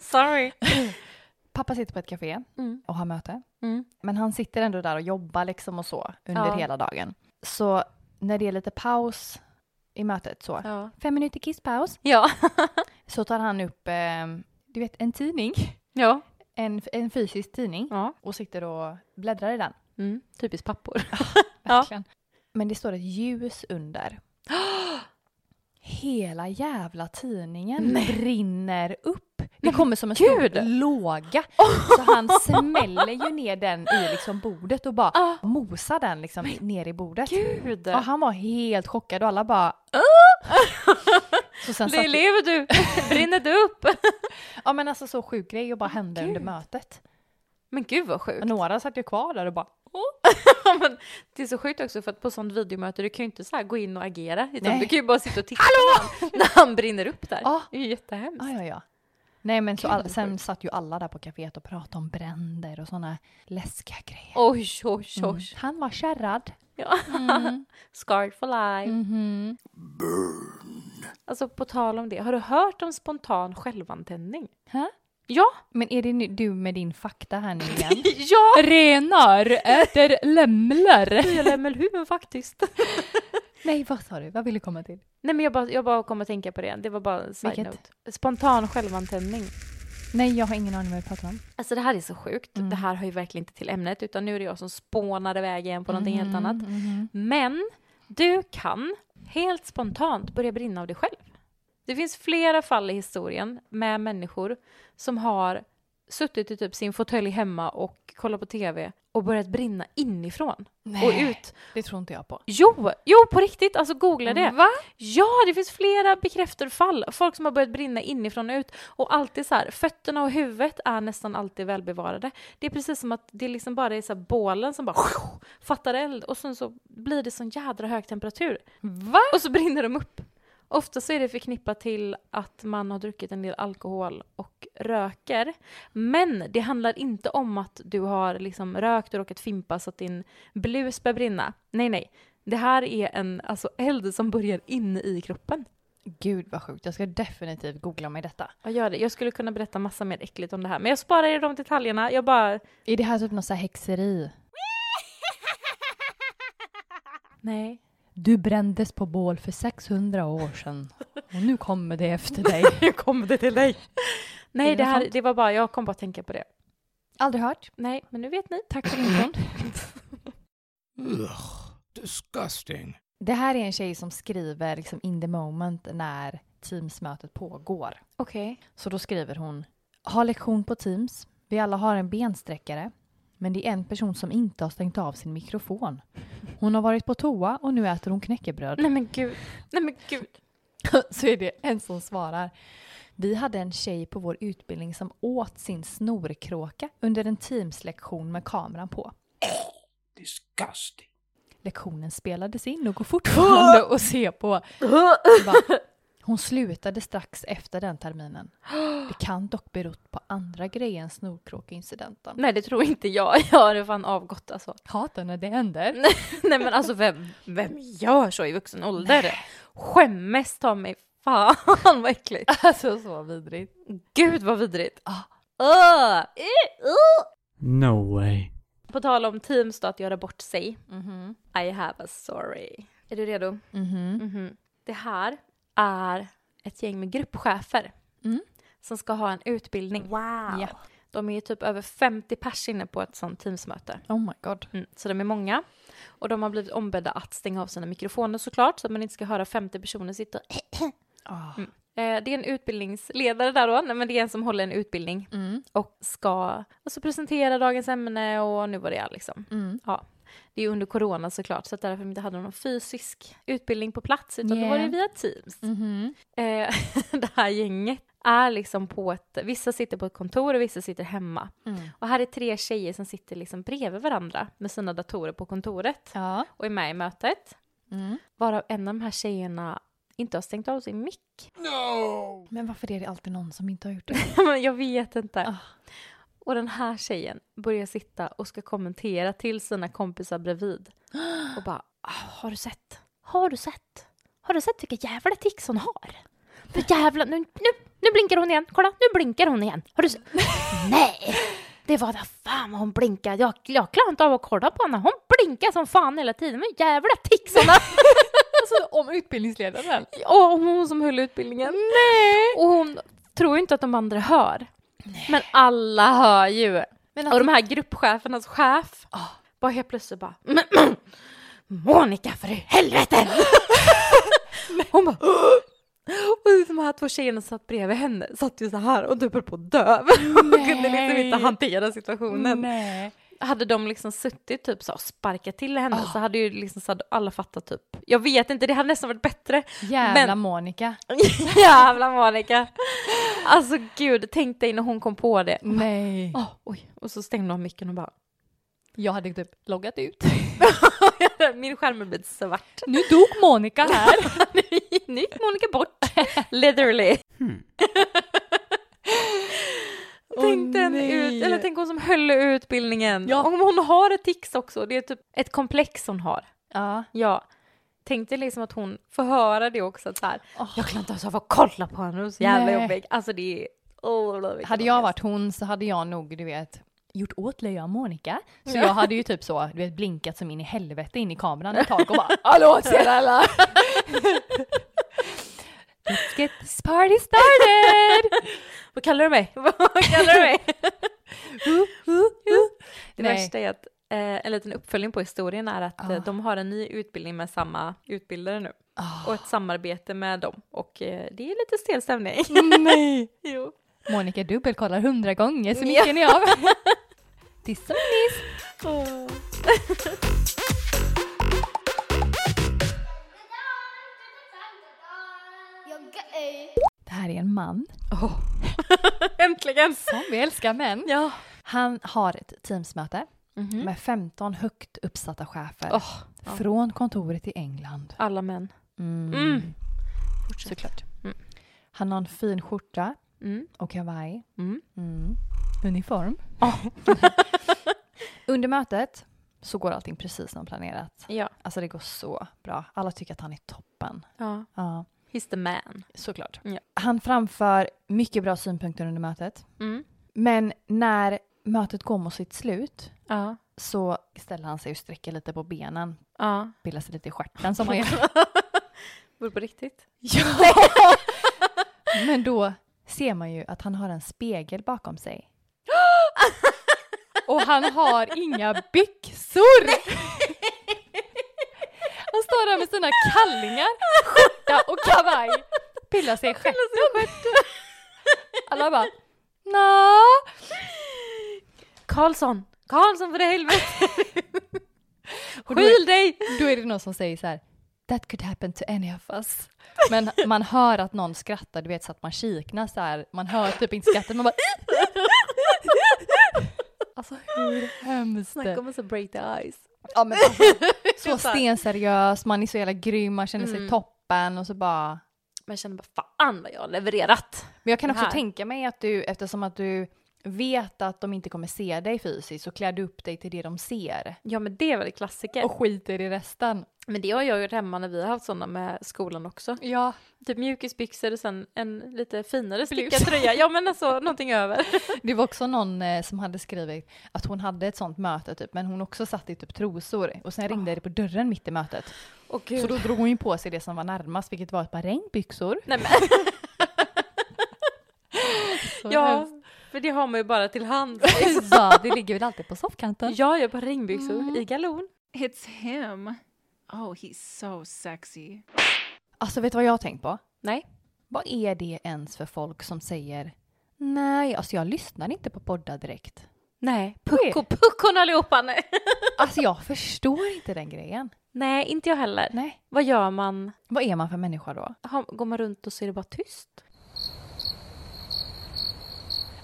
[SPEAKER 2] Sorry.
[SPEAKER 1] Pappa sitter på ett café
[SPEAKER 2] Mm.
[SPEAKER 1] och har möte.
[SPEAKER 2] Mm.
[SPEAKER 1] Men han sitter ändå där och jobbar liksom och så under
[SPEAKER 2] Ja.
[SPEAKER 1] hela dagen. Så när det är lite paus i mötet så,
[SPEAKER 2] Ja.
[SPEAKER 1] fem minuter kisspaus,
[SPEAKER 2] Ja.
[SPEAKER 1] så tar han upp, eh, du vet en tidning,
[SPEAKER 2] Ja.
[SPEAKER 1] en, en fysisk tidning
[SPEAKER 2] ja.
[SPEAKER 1] och sitter och bläddrar i den.
[SPEAKER 2] Mm. Typiskt pappor. Ja.
[SPEAKER 1] Verkligen. Men det står ett ljus under. Hela jävla tidningen brinner upp. Det kommer som en stor
[SPEAKER 2] gud!
[SPEAKER 1] låga. Så han smäller ju ner den i liksom bordet och bara
[SPEAKER 2] Ah.
[SPEAKER 1] mosar den liksom ner i bordet.
[SPEAKER 2] Gud.
[SPEAKER 1] Och han var helt chockad och alla bara "Åh!"
[SPEAKER 2] Ah!
[SPEAKER 1] så sen satt,
[SPEAKER 2] lever du? Brinner du upp?
[SPEAKER 1] Ja men alltså så sjuk grej och bara hände under
[SPEAKER 2] Gud.
[SPEAKER 1] mötet.
[SPEAKER 2] Men gud vad sjukt.
[SPEAKER 1] Och några satt ju kvar där och bara
[SPEAKER 2] Ja, men det är så sjukt också för att på sånt videomöte du kan ju inte så här gå in och agera utan
[SPEAKER 1] Nej.
[SPEAKER 2] du kan ju bara sitta och titta när han, när han brinner upp där.
[SPEAKER 1] Ja.
[SPEAKER 2] Det är ju jättehemskt.
[SPEAKER 1] Ja, ja, ja. Nej, men så
[SPEAKER 2] Gud,
[SPEAKER 1] alla,
[SPEAKER 2] vad
[SPEAKER 1] sen
[SPEAKER 2] sjukt.
[SPEAKER 1] satt ju alla där på kaféet och pratade om bränder och såna läskiga grejer.
[SPEAKER 2] Oj, oj, oj.
[SPEAKER 1] Mm. Han var kärrad.
[SPEAKER 2] Ja.
[SPEAKER 1] Mm.
[SPEAKER 2] Scarred for life.
[SPEAKER 1] Mhm.
[SPEAKER 2] Mm-hmm. Alltså på tal om det, har du hört om spontan självantändning?
[SPEAKER 1] Hä?
[SPEAKER 2] Ja,
[SPEAKER 1] Men är det nu, du med din fakta här nu igen?
[SPEAKER 2] ja,
[SPEAKER 1] Renar äter lämlar.
[SPEAKER 2] jag lämnar huvudet faktiskt.
[SPEAKER 1] Nej, vad sa du? Vad ville du komma till?
[SPEAKER 2] Nej men jag bara, jag bara kom att tänka på det, det var bara en side
[SPEAKER 1] Vilket?
[SPEAKER 2] note. Spontan självantändning.
[SPEAKER 1] Nej, jag har ingen aning vad du pratar om.
[SPEAKER 2] Alltså det här är så sjukt, det här har ju verkligen inte till ämnet utan nu är det jag som spånar iväg igen på någonting helt annat. Men du kan helt spontant börja brinna av dig själv. Det finns flera fall i historien med människor som har suttit i typ sin fåtölj hemma och kollat på tv och börjat brinna inifrån och
[SPEAKER 1] Nej.
[SPEAKER 2] ut.
[SPEAKER 1] Det tror inte jag på.
[SPEAKER 2] Jo, jo på riktigt, alltså googla det.
[SPEAKER 1] Va?
[SPEAKER 2] Ja, det finns flera bekräftade fall. Folk som har börjat brinna inifrån och ut. Och alltid så här, fötterna och huvudet är nästan alltid välbevarade. Det är precis som att det liksom bara är så här bålen som bara fattar eld och sen så blir det sån jädra hög temperatur.
[SPEAKER 1] Va?
[SPEAKER 2] Och så brinner de upp. Ofta så är det förknippat till att man har druckit en del alkohol och röker. Men det handlar inte om att du har liksom rökt och råkat fimpa så att din blus börjar brinna. Nej, nej. Det här är en alltså, eld som börjar inne i kroppen.
[SPEAKER 1] Gud vad sjukt, jag ska definitivt googla mig detta.
[SPEAKER 2] Jag gör det. Jag skulle kunna berätta massa mer äckligt om det här, men jag sparar er de detaljerna. Jag bara...
[SPEAKER 1] Är det här typ något så här häxeri?
[SPEAKER 2] Nej.
[SPEAKER 1] Du brändes på bål för 600 år sedan och nu kommer det efter dig.
[SPEAKER 2] Hur kom det till dig? Nej,
[SPEAKER 1] Är det
[SPEAKER 2] det, här,
[SPEAKER 1] sant?
[SPEAKER 2] det var bara... Jag kom bara att tänka på det.
[SPEAKER 1] Aldrig hört.
[SPEAKER 2] Nej, men nu vet ni. Tack för infon.
[SPEAKER 4] Ugh, disgusting.
[SPEAKER 1] Det här är en tjej som skriver liksom in the moment när Teamsmötet pågår.
[SPEAKER 2] Okej.
[SPEAKER 1] Så då skriver hon Har lektion på Teams. Vi alla har en bensträckare. Men det är en person som inte har stängt av sin mikrofon. Hon har varit på toa och nu äter hon knäckebröd.
[SPEAKER 2] Nej men gud. Nej men gud.
[SPEAKER 1] Så är det en som svarar. Vi hade en tjej på vår utbildning som åt sin snorkråka under en Teams-lektion med kameran på.
[SPEAKER 4] Disgusting.
[SPEAKER 1] Lektionen spelades in och går fortfarande att se på. Så bara, Hon slutade strax efter den terminen. Det kan dock berott på andra grejer än snorkråkeincidenten.
[SPEAKER 2] Nej det tror inte jag. Jag har fan avgått alltså.
[SPEAKER 1] Hatar när det händer.
[SPEAKER 2] Nej men alltså vem, vem gör så i vuxen ålder? Skämmes ta mig fan vad äckligt.
[SPEAKER 1] Alltså så vidrigt.
[SPEAKER 2] Gud vad vidrigt. Ah. Öh! Eh, uh.
[SPEAKER 5] No way.
[SPEAKER 2] På tal om Teams då, att göra bort sig.
[SPEAKER 1] Mm-hmm.
[SPEAKER 2] I have a story. Är du redo? Mhm. Det här är ett gäng med gruppchefer
[SPEAKER 1] Mm.
[SPEAKER 2] som ska ha en utbildning. Wow.
[SPEAKER 1] Ja.
[SPEAKER 2] De är ju typ över 50 pers inne på ett sånt Teamsmöte.
[SPEAKER 1] Oh my god.
[SPEAKER 2] Mm, så de är många. Och de har blivit ombedda att stänga av sina mikrofoner såklart, så att man inte ska höra 50 personer sitta och...
[SPEAKER 1] Ah.
[SPEAKER 2] Mm. Eh, det är en utbildningsledare där då, nej men det är en som håller en utbildning
[SPEAKER 1] Mm.
[SPEAKER 2] och ska alltså, presentera dagens ämne och nu vad det är liksom.
[SPEAKER 1] Mm.
[SPEAKER 2] Ja, det är ju under corona såklart, så att därför inte hade någon fysisk utbildning på plats, utan då
[SPEAKER 1] Yeah.
[SPEAKER 2] var det via Teams.
[SPEAKER 1] Mhm.
[SPEAKER 2] Eh, det här gänget är liksom på ett, vissa sitter på ett kontor och vissa sitter hemma.
[SPEAKER 1] Mm.
[SPEAKER 2] Och här är tre tjejer som sitter liksom bredvid varandra med sina datorer på kontoret
[SPEAKER 1] Ja.
[SPEAKER 2] och är med i mötet.
[SPEAKER 1] Mm.
[SPEAKER 2] Varav en av de här tjejerna inte har stängt av sin mick.
[SPEAKER 4] No!
[SPEAKER 1] Men varför är det alltid någon som inte har gjort det?
[SPEAKER 2] Men jag vet inte.
[SPEAKER 1] Ah.
[SPEAKER 2] Och den här tjejen börjar sitta och ska kommentera till sina kompisar bredvid. Och bara, "Ah, har du sett? Har du sett? Har du sett vilka jävla tics hon har? För jävla, nu, nu, nu blinkar hon igen. Kolla, nu blinkar hon igen. Har du sett? Nej! Det var där fan vad hon blinkade. Jag, jag klarar inte av att kolla på henne. Hon blinkar som fan hela tiden. Men jävla tics hon har.
[SPEAKER 1] Alltså om utbildningsledaren?
[SPEAKER 2] Ja, och hon som höll utbildningen. Nej! Och hon tror ju inte att de andra hör. Men alla hör ju.
[SPEAKER 1] Men
[SPEAKER 2] Och
[SPEAKER 1] alltså,
[SPEAKER 2] de här gruppchefernas chef bara helt plötsligt bara "Men, men, Monica för i helvete! hon bara "Åh!" Och de här två tjejerna satt bredvid henne satt ju så här och typ höll på att dö. Hon kunde liksom inte hantera situationen.
[SPEAKER 1] nej.
[SPEAKER 2] Hade de liksom suttit typ så och sparkat till henne
[SPEAKER 1] Ah.
[SPEAKER 2] så hade ju liksom så hade alla fattat typ. Jag vet inte, det hade nästan varit bättre.
[SPEAKER 1] Jävla
[SPEAKER 2] Men-
[SPEAKER 1] Monica.
[SPEAKER 2] Jävla Monica! Alltså gud, tänk dig när hon kom på det.
[SPEAKER 1] Mm. Nej.
[SPEAKER 2] Åh, oj. Och så stängde hon micken och bara
[SPEAKER 1] Jag hade typ loggat ut.
[SPEAKER 2] Min skärm har blivit svart.
[SPEAKER 1] Nu dog Monica här.
[SPEAKER 2] nu gick Monica bort. Literally.
[SPEAKER 5] Hmm.
[SPEAKER 2] Tänk den
[SPEAKER 1] nej.
[SPEAKER 2] ut, eller tänk hon som höll utbildningen.
[SPEAKER 1] Ja.
[SPEAKER 2] Om hon har ett tics också, det är typ ett komplex hon har.
[SPEAKER 1] ja.
[SPEAKER 2] Ja. Tänk dig liksom att hon får höra det också. Att så här, Jag klarar inte ens av att kolla på henne, hon är så jävla
[SPEAKER 1] Nej.
[SPEAKER 2] jobbig. Alltså det är... Oh, vilken
[SPEAKER 1] Hade jag
[SPEAKER 2] ångest.
[SPEAKER 1] varit hon så hade jag nog, du vet, gjort åt löja av Monica. Så jag hade ju typ så, du vet, blinkat som in i helvete in i kameran ett tag och bara Hallå, ser alla? Let's get this party started!
[SPEAKER 2] Vad kallar du mig? Vad kallar du mig? Det
[SPEAKER 1] Nej.
[SPEAKER 2] värsta är att eh, en liten uppföljning på historien är att eh, de har en ny utbildning med samma utbildare nu. Och ett samarbete med dem. Och eh, det är lite stel stämning.
[SPEAKER 1] Nej!
[SPEAKER 2] jo.
[SPEAKER 1] Monica dubbelkollar hundra gånger så
[SPEAKER 2] Ja.
[SPEAKER 1] gick ni av. This is nice. Det här är en man
[SPEAKER 2] Äntligen!
[SPEAKER 1] som vi älskar män.
[SPEAKER 2] Ja.
[SPEAKER 1] Han har ett teamsmöte
[SPEAKER 2] Mhm.
[SPEAKER 1] med 15 högt uppsatta chefer
[SPEAKER 2] Åh, ja.
[SPEAKER 1] från kontoret i England.
[SPEAKER 2] Alla män.
[SPEAKER 1] Mm.
[SPEAKER 2] Mm.
[SPEAKER 1] Såklart.
[SPEAKER 2] Mm.
[SPEAKER 1] Han har en fin skjorta
[SPEAKER 2] Mm.
[SPEAKER 1] och kavaj.
[SPEAKER 2] Mm.
[SPEAKER 1] Mm. Uniform. Under mötet så går allting precis som planerat.
[SPEAKER 2] Ja.
[SPEAKER 1] Alltså det går så bra. Alla tycker att han är toppen.
[SPEAKER 2] ja.
[SPEAKER 1] Ja.
[SPEAKER 2] He's the man.
[SPEAKER 1] Såklart.
[SPEAKER 2] Ja.
[SPEAKER 1] Han framför mycket bra synpunkter under mötet.
[SPEAKER 2] Mm.
[SPEAKER 1] Men när mötet går mot sitt slut
[SPEAKER 2] Ja.
[SPEAKER 1] så ställer han sig och sträcker lite på benen.
[SPEAKER 2] Ja.
[SPEAKER 1] Pillar sig lite i stjärten som man gör.
[SPEAKER 2] Var det på riktigt?
[SPEAKER 1] ja! Men då ser man ju att han har en spegel bakom sig.
[SPEAKER 3] Och han har inga byxor! Han står där med sina kallingar, skjorta och kavaj. Pillar sig i stjärten. Alla bara Nå.
[SPEAKER 2] Karlsson! Karlsson för helvete!
[SPEAKER 1] Och då, är,
[SPEAKER 2] Skyl dig!
[SPEAKER 1] då är det någon som säger så här That could happen to any of us. Men man hör att någon skrattar, du vet så att man kiknar så här. Man hör typ inte skrattet, man bara Alltså hur hemskt?
[SPEAKER 3] Oh
[SPEAKER 2] Snacka om att så break the ice.
[SPEAKER 1] Ja, men alltså, så
[SPEAKER 2] fan.
[SPEAKER 1] stenseriös, man är så jävla grym, man känner sig
[SPEAKER 2] Mm.
[SPEAKER 1] toppen och så bara...
[SPEAKER 2] Men jag känner bara fan vad jag har levererat.
[SPEAKER 1] Men jag kan
[SPEAKER 2] Det
[SPEAKER 1] också
[SPEAKER 2] här.
[SPEAKER 1] tänka mig att du, eftersom att du vet att de inte kommer se dig fysiskt, så klär du upp dig till det de ser.
[SPEAKER 2] Ja men det var det klassiker.
[SPEAKER 1] Och skiter i resten.
[SPEAKER 2] Men det har jag gjort hemma när vi har haft sådana med skolan också.
[SPEAKER 1] Ja.
[SPEAKER 2] Typ mjukisbyxor och sen en lite finare
[SPEAKER 1] Blus.
[SPEAKER 2] stickad tröja. Ja men alltså någonting över.
[SPEAKER 1] Det var också någon eh, som hade skrivit att hon hade ett sånt möte typ, men hon också satt i typ trosor. Och sen
[SPEAKER 2] Ah.
[SPEAKER 1] ringde det på dörren mitt i mötet.
[SPEAKER 2] Och
[SPEAKER 1] Så då drog hon ju på sig det som var närmast, vilket var ett par regnbyxor.
[SPEAKER 2] Nej, men,
[SPEAKER 1] Så
[SPEAKER 2] ja,
[SPEAKER 1] hemskt.
[SPEAKER 2] för det har man ju bara till hand.
[SPEAKER 1] ja, det ligger väl alltid på soffkanten.
[SPEAKER 2] Jag gör bara regnbyxor i galon.
[SPEAKER 5] It's him. Oh, he's so sexy.
[SPEAKER 1] Alltså vet du vad jag har tänkt på?
[SPEAKER 2] Nej.
[SPEAKER 1] Vad är det ens för folk som säger Nej, alltså jag lyssnar inte på poddar direkt.
[SPEAKER 2] Nej,
[SPEAKER 1] pucko,
[SPEAKER 2] pucko, puckon allihopa. Nej.
[SPEAKER 1] Alltså jag förstår inte den grejen.
[SPEAKER 2] nej, inte jag heller.
[SPEAKER 1] Nej.
[SPEAKER 2] Vad gör man?
[SPEAKER 1] Vad är man för människa då?
[SPEAKER 2] Har- Går man runt och så är det bara tyst?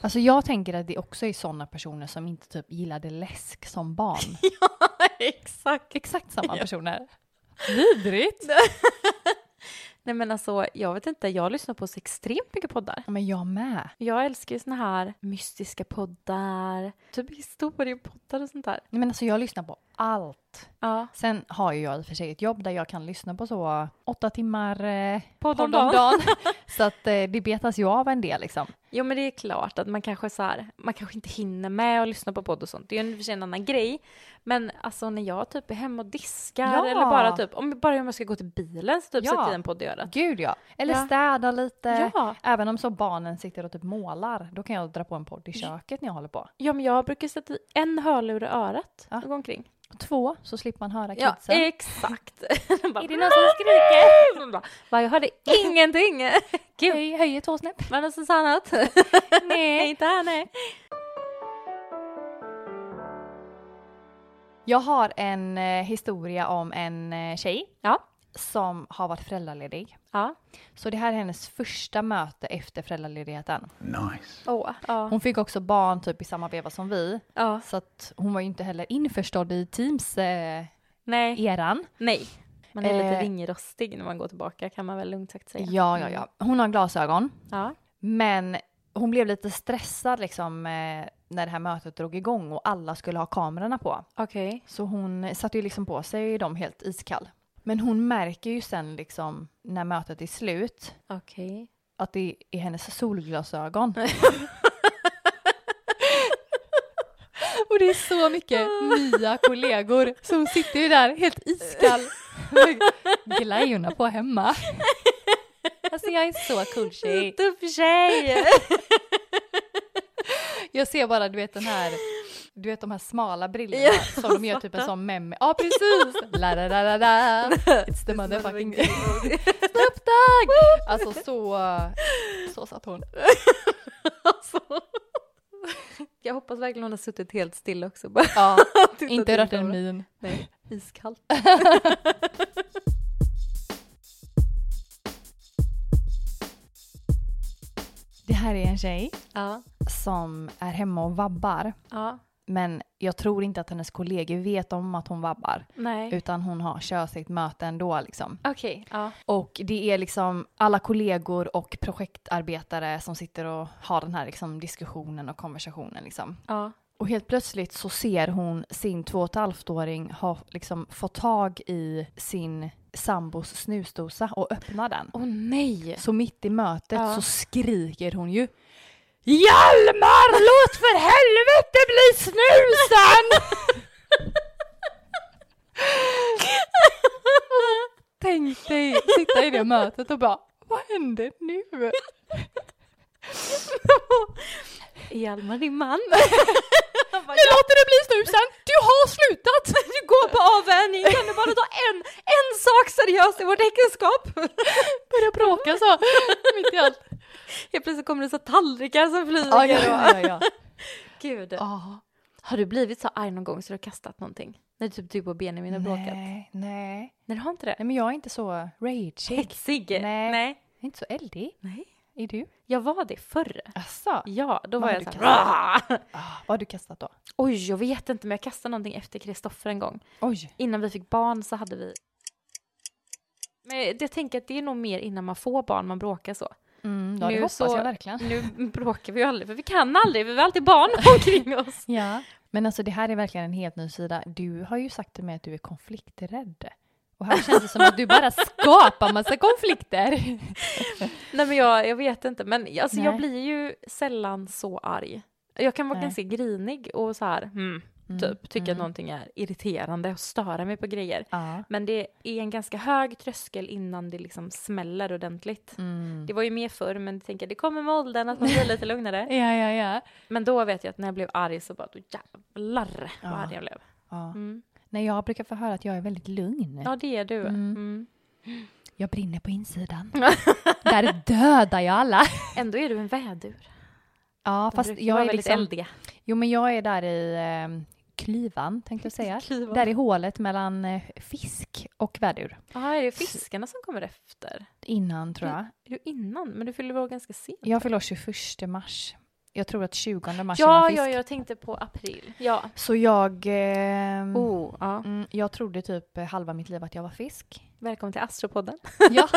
[SPEAKER 1] Alltså jag tänker att det också är sådana personer som inte typ gillade läsk som barn.
[SPEAKER 2] Exakt.
[SPEAKER 1] Exakt samma personer. Vidrigt!
[SPEAKER 2] Nej men alltså, jag vet inte, jag lyssnar på så extremt mycket poddar.
[SPEAKER 1] Ja, Men jag med.
[SPEAKER 2] Jag älskar ju såna här mystiska poddar, typ historiepoddar och sånt där.
[SPEAKER 1] Nej, men alltså jag lyssnar på allt.
[SPEAKER 2] Ja.
[SPEAKER 1] Sen har ju jag i och för sig ett jobb där jag kan lyssna på så åtta timmar eh,
[SPEAKER 2] Podd om
[SPEAKER 1] podd
[SPEAKER 2] dagen.
[SPEAKER 1] om dagen. så att eh, det betas ju av en del liksom.
[SPEAKER 2] Jo men det är klart att man kanske så här, man kanske inte hinner med att lyssna på podd och sånt. Det är ju i och för sig en annan grej. Men alltså när jag typ är hemma och diskar
[SPEAKER 1] Ja.
[SPEAKER 2] eller bara typ, om, bara om jag ska gå till bilen så typ
[SPEAKER 1] Ja.
[SPEAKER 2] sätter jag en podd i örat.
[SPEAKER 1] Gud ja. Eller
[SPEAKER 2] Ja.
[SPEAKER 1] städa lite.
[SPEAKER 2] Ja.
[SPEAKER 1] Även om så barnen sitter och typ målar, då kan jag dra på en podd i köket när jag håller på.
[SPEAKER 2] ja men jag brukar sätta i en hörlur i örat
[SPEAKER 1] Ja.
[SPEAKER 2] och gå omkring.
[SPEAKER 1] Två, så slipper man höra
[SPEAKER 2] Ja eh,
[SPEAKER 1] kidsen.
[SPEAKER 2] exakt. De bara,
[SPEAKER 3] Är det någon som skriker?
[SPEAKER 2] de bara, Va, jag hörde ingenting.
[SPEAKER 3] Höj, höjer två snäpp.
[SPEAKER 2] Var det någon som sa något? Nej inte här nej.
[SPEAKER 1] Jag har en eh, historia om en eh, tjej
[SPEAKER 2] Ja.
[SPEAKER 1] som har varit föräldraledig.
[SPEAKER 2] Ja.
[SPEAKER 1] Så det här är hennes första möte efter föräldraledigheten.
[SPEAKER 4] Nice.
[SPEAKER 2] Åh. Ja.
[SPEAKER 1] Hon fick också barn typ i samma veva som vi,
[SPEAKER 2] ja.
[SPEAKER 1] så att hon var ju inte heller införstådd i Teams-eran.
[SPEAKER 2] Nej.
[SPEAKER 1] Eh, eran.
[SPEAKER 2] Nej. Man är
[SPEAKER 1] Eh.
[SPEAKER 2] lite ringrostig när man går tillbaka kan man väl lugnt sagt säga.
[SPEAKER 1] ja, ja, ja. Hon har glasögon.
[SPEAKER 2] Ja.
[SPEAKER 1] Men hon blev lite stressad liksom eh, när det här mötet drog igång och alla skulle ha kamerorna på.
[SPEAKER 2] Okej.
[SPEAKER 1] Så hon satte ju liksom på sig dem helt iskall. Men hon märker ju sen liksom när mötet är slut
[SPEAKER 2] Okej.
[SPEAKER 1] att det är hennes solglasögon. och det är så mycket nya kollegor så hon sitter ju där helt iskall med glajjorna på hemma.
[SPEAKER 3] Alltså jag är så cool tjej.
[SPEAKER 2] Tuff tjej!
[SPEAKER 1] Jag ser bara, du vet den här, du vet de här smala brillorna som de gör typ en sån meme. Ja precis! La da da da da. It's the motherfucking day. Snoop Dogg! Alltså så, så satt hon.
[SPEAKER 2] Jag hoppas verkligen hon har suttit helt still också. Bara
[SPEAKER 1] Ja,
[SPEAKER 2] tittat
[SPEAKER 1] inte
[SPEAKER 2] in
[SPEAKER 1] rört
[SPEAKER 2] i
[SPEAKER 1] en
[SPEAKER 2] kameran.
[SPEAKER 1] min.
[SPEAKER 2] Nej, iskallt.
[SPEAKER 1] Det här är en tjej
[SPEAKER 2] Ja.
[SPEAKER 1] som är hemma och vabbar.
[SPEAKER 2] Ja.
[SPEAKER 1] Men jag tror inte att hennes kollegor vet om att hon vabbar.
[SPEAKER 2] Nej.
[SPEAKER 1] Utan hon har kör sitt möte ändå liksom.
[SPEAKER 2] Okej. Ja.
[SPEAKER 1] Och det är liksom alla kollegor och projektarbetare som sitter och har den här liksom diskussionen och konversationen liksom.
[SPEAKER 2] Ja.
[SPEAKER 1] Och helt plötsligt så ser hon sin två och ett halvt åring ha liksom fått tag i sin sambos snusdosa och öppnar den.
[SPEAKER 2] Åh nej!
[SPEAKER 1] Så mitt i mötet
[SPEAKER 2] Ja.
[SPEAKER 1] så skriker hon ju Hjalmar, låt för helvete bli snusen! Tänk dig sitta i det mötet och bara, vad händer nu?
[SPEAKER 2] Hjalmar, din man.
[SPEAKER 1] Nu låter det bli snusen! Du har slutat!
[SPEAKER 2] Du går på avvänjning, kan du bara ta en, en sak seriöst i vårt äktenskap?
[SPEAKER 1] Börjar bråka så, mitt i allt.
[SPEAKER 2] Helt plötsligt kommer det så tallrikar som flyger.
[SPEAKER 1] Ja, ja, ja, ja.
[SPEAKER 2] Gud.
[SPEAKER 1] ja.
[SPEAKER 2] Har du blivit så arg någon gång så du har kastat någonting? När typ du och Benjamin har bråkat? Nej,
[SPEAKER 1] Nej, nej.
[SPEAKER 2] du har inte det?
[SPEAKER 1] Nej men jag är inte så rageig.
[SPEAKER 2] Hetsig?
[SPEAKER 1] Nej.
[SPEAKER 2] Nej.
[SPEAKER 1] Jag är inte så eldig.
[SPEAKER 2] Nej.
[SPEAKER 1] Är du?
[SPEAKER 2] Jag var det förr.
[SPEAKER 1] Asså?
[SPEAKER 2] Ja, då
[SPEAKER 1] Vad
[SPEAKER 2] var
[SPEAKER 1] har
[SPEAKER 2] jag
[SPEAKER 1] du
[SPEAKER 2] så här,
[SPEAKER 1] Ah, vad har du kastat då?
[SPEAKER 2] Oj, jag vet inte men jag kastade någonting efter Kristoffer en gång.
[SPEAKER 1] Oj.
[SPEAKER 2] Innan vi fick barn så hade vi... Men jag tänker att det är nog mer innan man får barn man bråkar så.
[SPEAKER 1] Mm, ja, det
[SPEAKER 2] Nu
[SPEAKER 1] hoppas
[SPEAKER 2] så-
[SPEAKER 1] jag verkligen.
[SPEAKER 2] Nu bråkar vi ju aldrig, för vi kan aldrig, vi har alltid barn omkring oss.
[SPEAKER 1] Ja. Men alltså det här är verkligen en helt ny sida. Du har ju sagt till mig att du är konflikträdd. Och här känns det som att du bara skapar massa konflikter.
[SPEAKER 2] Nej men jag, jag vet inte, men alltså, jag
[SPEAKER 1] Nej.
[SPEAKER 2] blir ju sällan så arg. Jag kan vara
[SPEAKER 1] Nej.
[SPEAKER 2] ganska grinig och så här, mm, typ, tycka att någonting är irriterande och störa mig på grejer.
[SPEAKER 1] Ja.
[SPEAKER 2] Men det är en ganska hög tröskel innan det liksom smäller ordentligt.
[SPEAKER 1] Mm.
[SPEAKER 2] Det var ju mer förr, men jag tänker det kommer med åldern att man blir lite lugnare.
[SPEAKER 1] Ja, ja, ja.
[SPEAKER 2] Men då vet jag att när jag blev arg så bara, då jävlar vad
[SPEAKER 1] Ja.
[SPEAKER 2] arg jag blev.
[SPEAKER 1] ja.
[SPEAKER 2] Mm.
[SPEAKER 1] Nej, jag brukar få höra att jag är väldigt lugn.
[SPEAKER 2] Ja, det är du.
[SPEAKER 1] Mm.
[SPEAKER 2] Mm.
[SPEAKER 1] Jag brinner på insidan. Där dödar jag alla.
[SPEAKER 2] Ändå är du en vädur.
[SPEAKER 1] Ja,
[SPEAKER 2] De
[SPEAKER 1] fast
[SPEAKER 2] brukar
[SPEAKER 1] jag
[SPEAKER 2] vara
[SPEAKER 1] är
[SPEAKER 2] väldigt
[SPEAKER 1] liksom...
[SPEAKER 2] eldiga.
[SPEAKER 1] Jo, men jag är där i eh, klyvan, tänkte jag säga.
[SPEAKER 2] Klyvan.
[SPEAKER 1] Där i hålet mellan eh, fisk och vädur.
[SPEAKER 2] Ja, är det fiskarna som kommer efter?
[SPEAKER 1] Innan, tror jag.
[SPEAKER 2] Är du innan? Men du fyller år ganska sent.
[SPEAKER 1] Jag fyller år 21 mars. Jag tror att 20 mars är
[SPEAKER 2] Ja,
[SPEAKER 1] man fisk.
[SPEAKER 2] ja, jag tänkte på april. Ja.
[SPEAKER 1] Så jag... ehm,
[SPEAKER 2] Oh, ja.
[SPEAKER 1] mm, jag trodde typ eh, halva mitt liv att jag var fisk.
[SPEAKER 2] Välkommen till Astropodden.
[SPEAKER 1] Ja.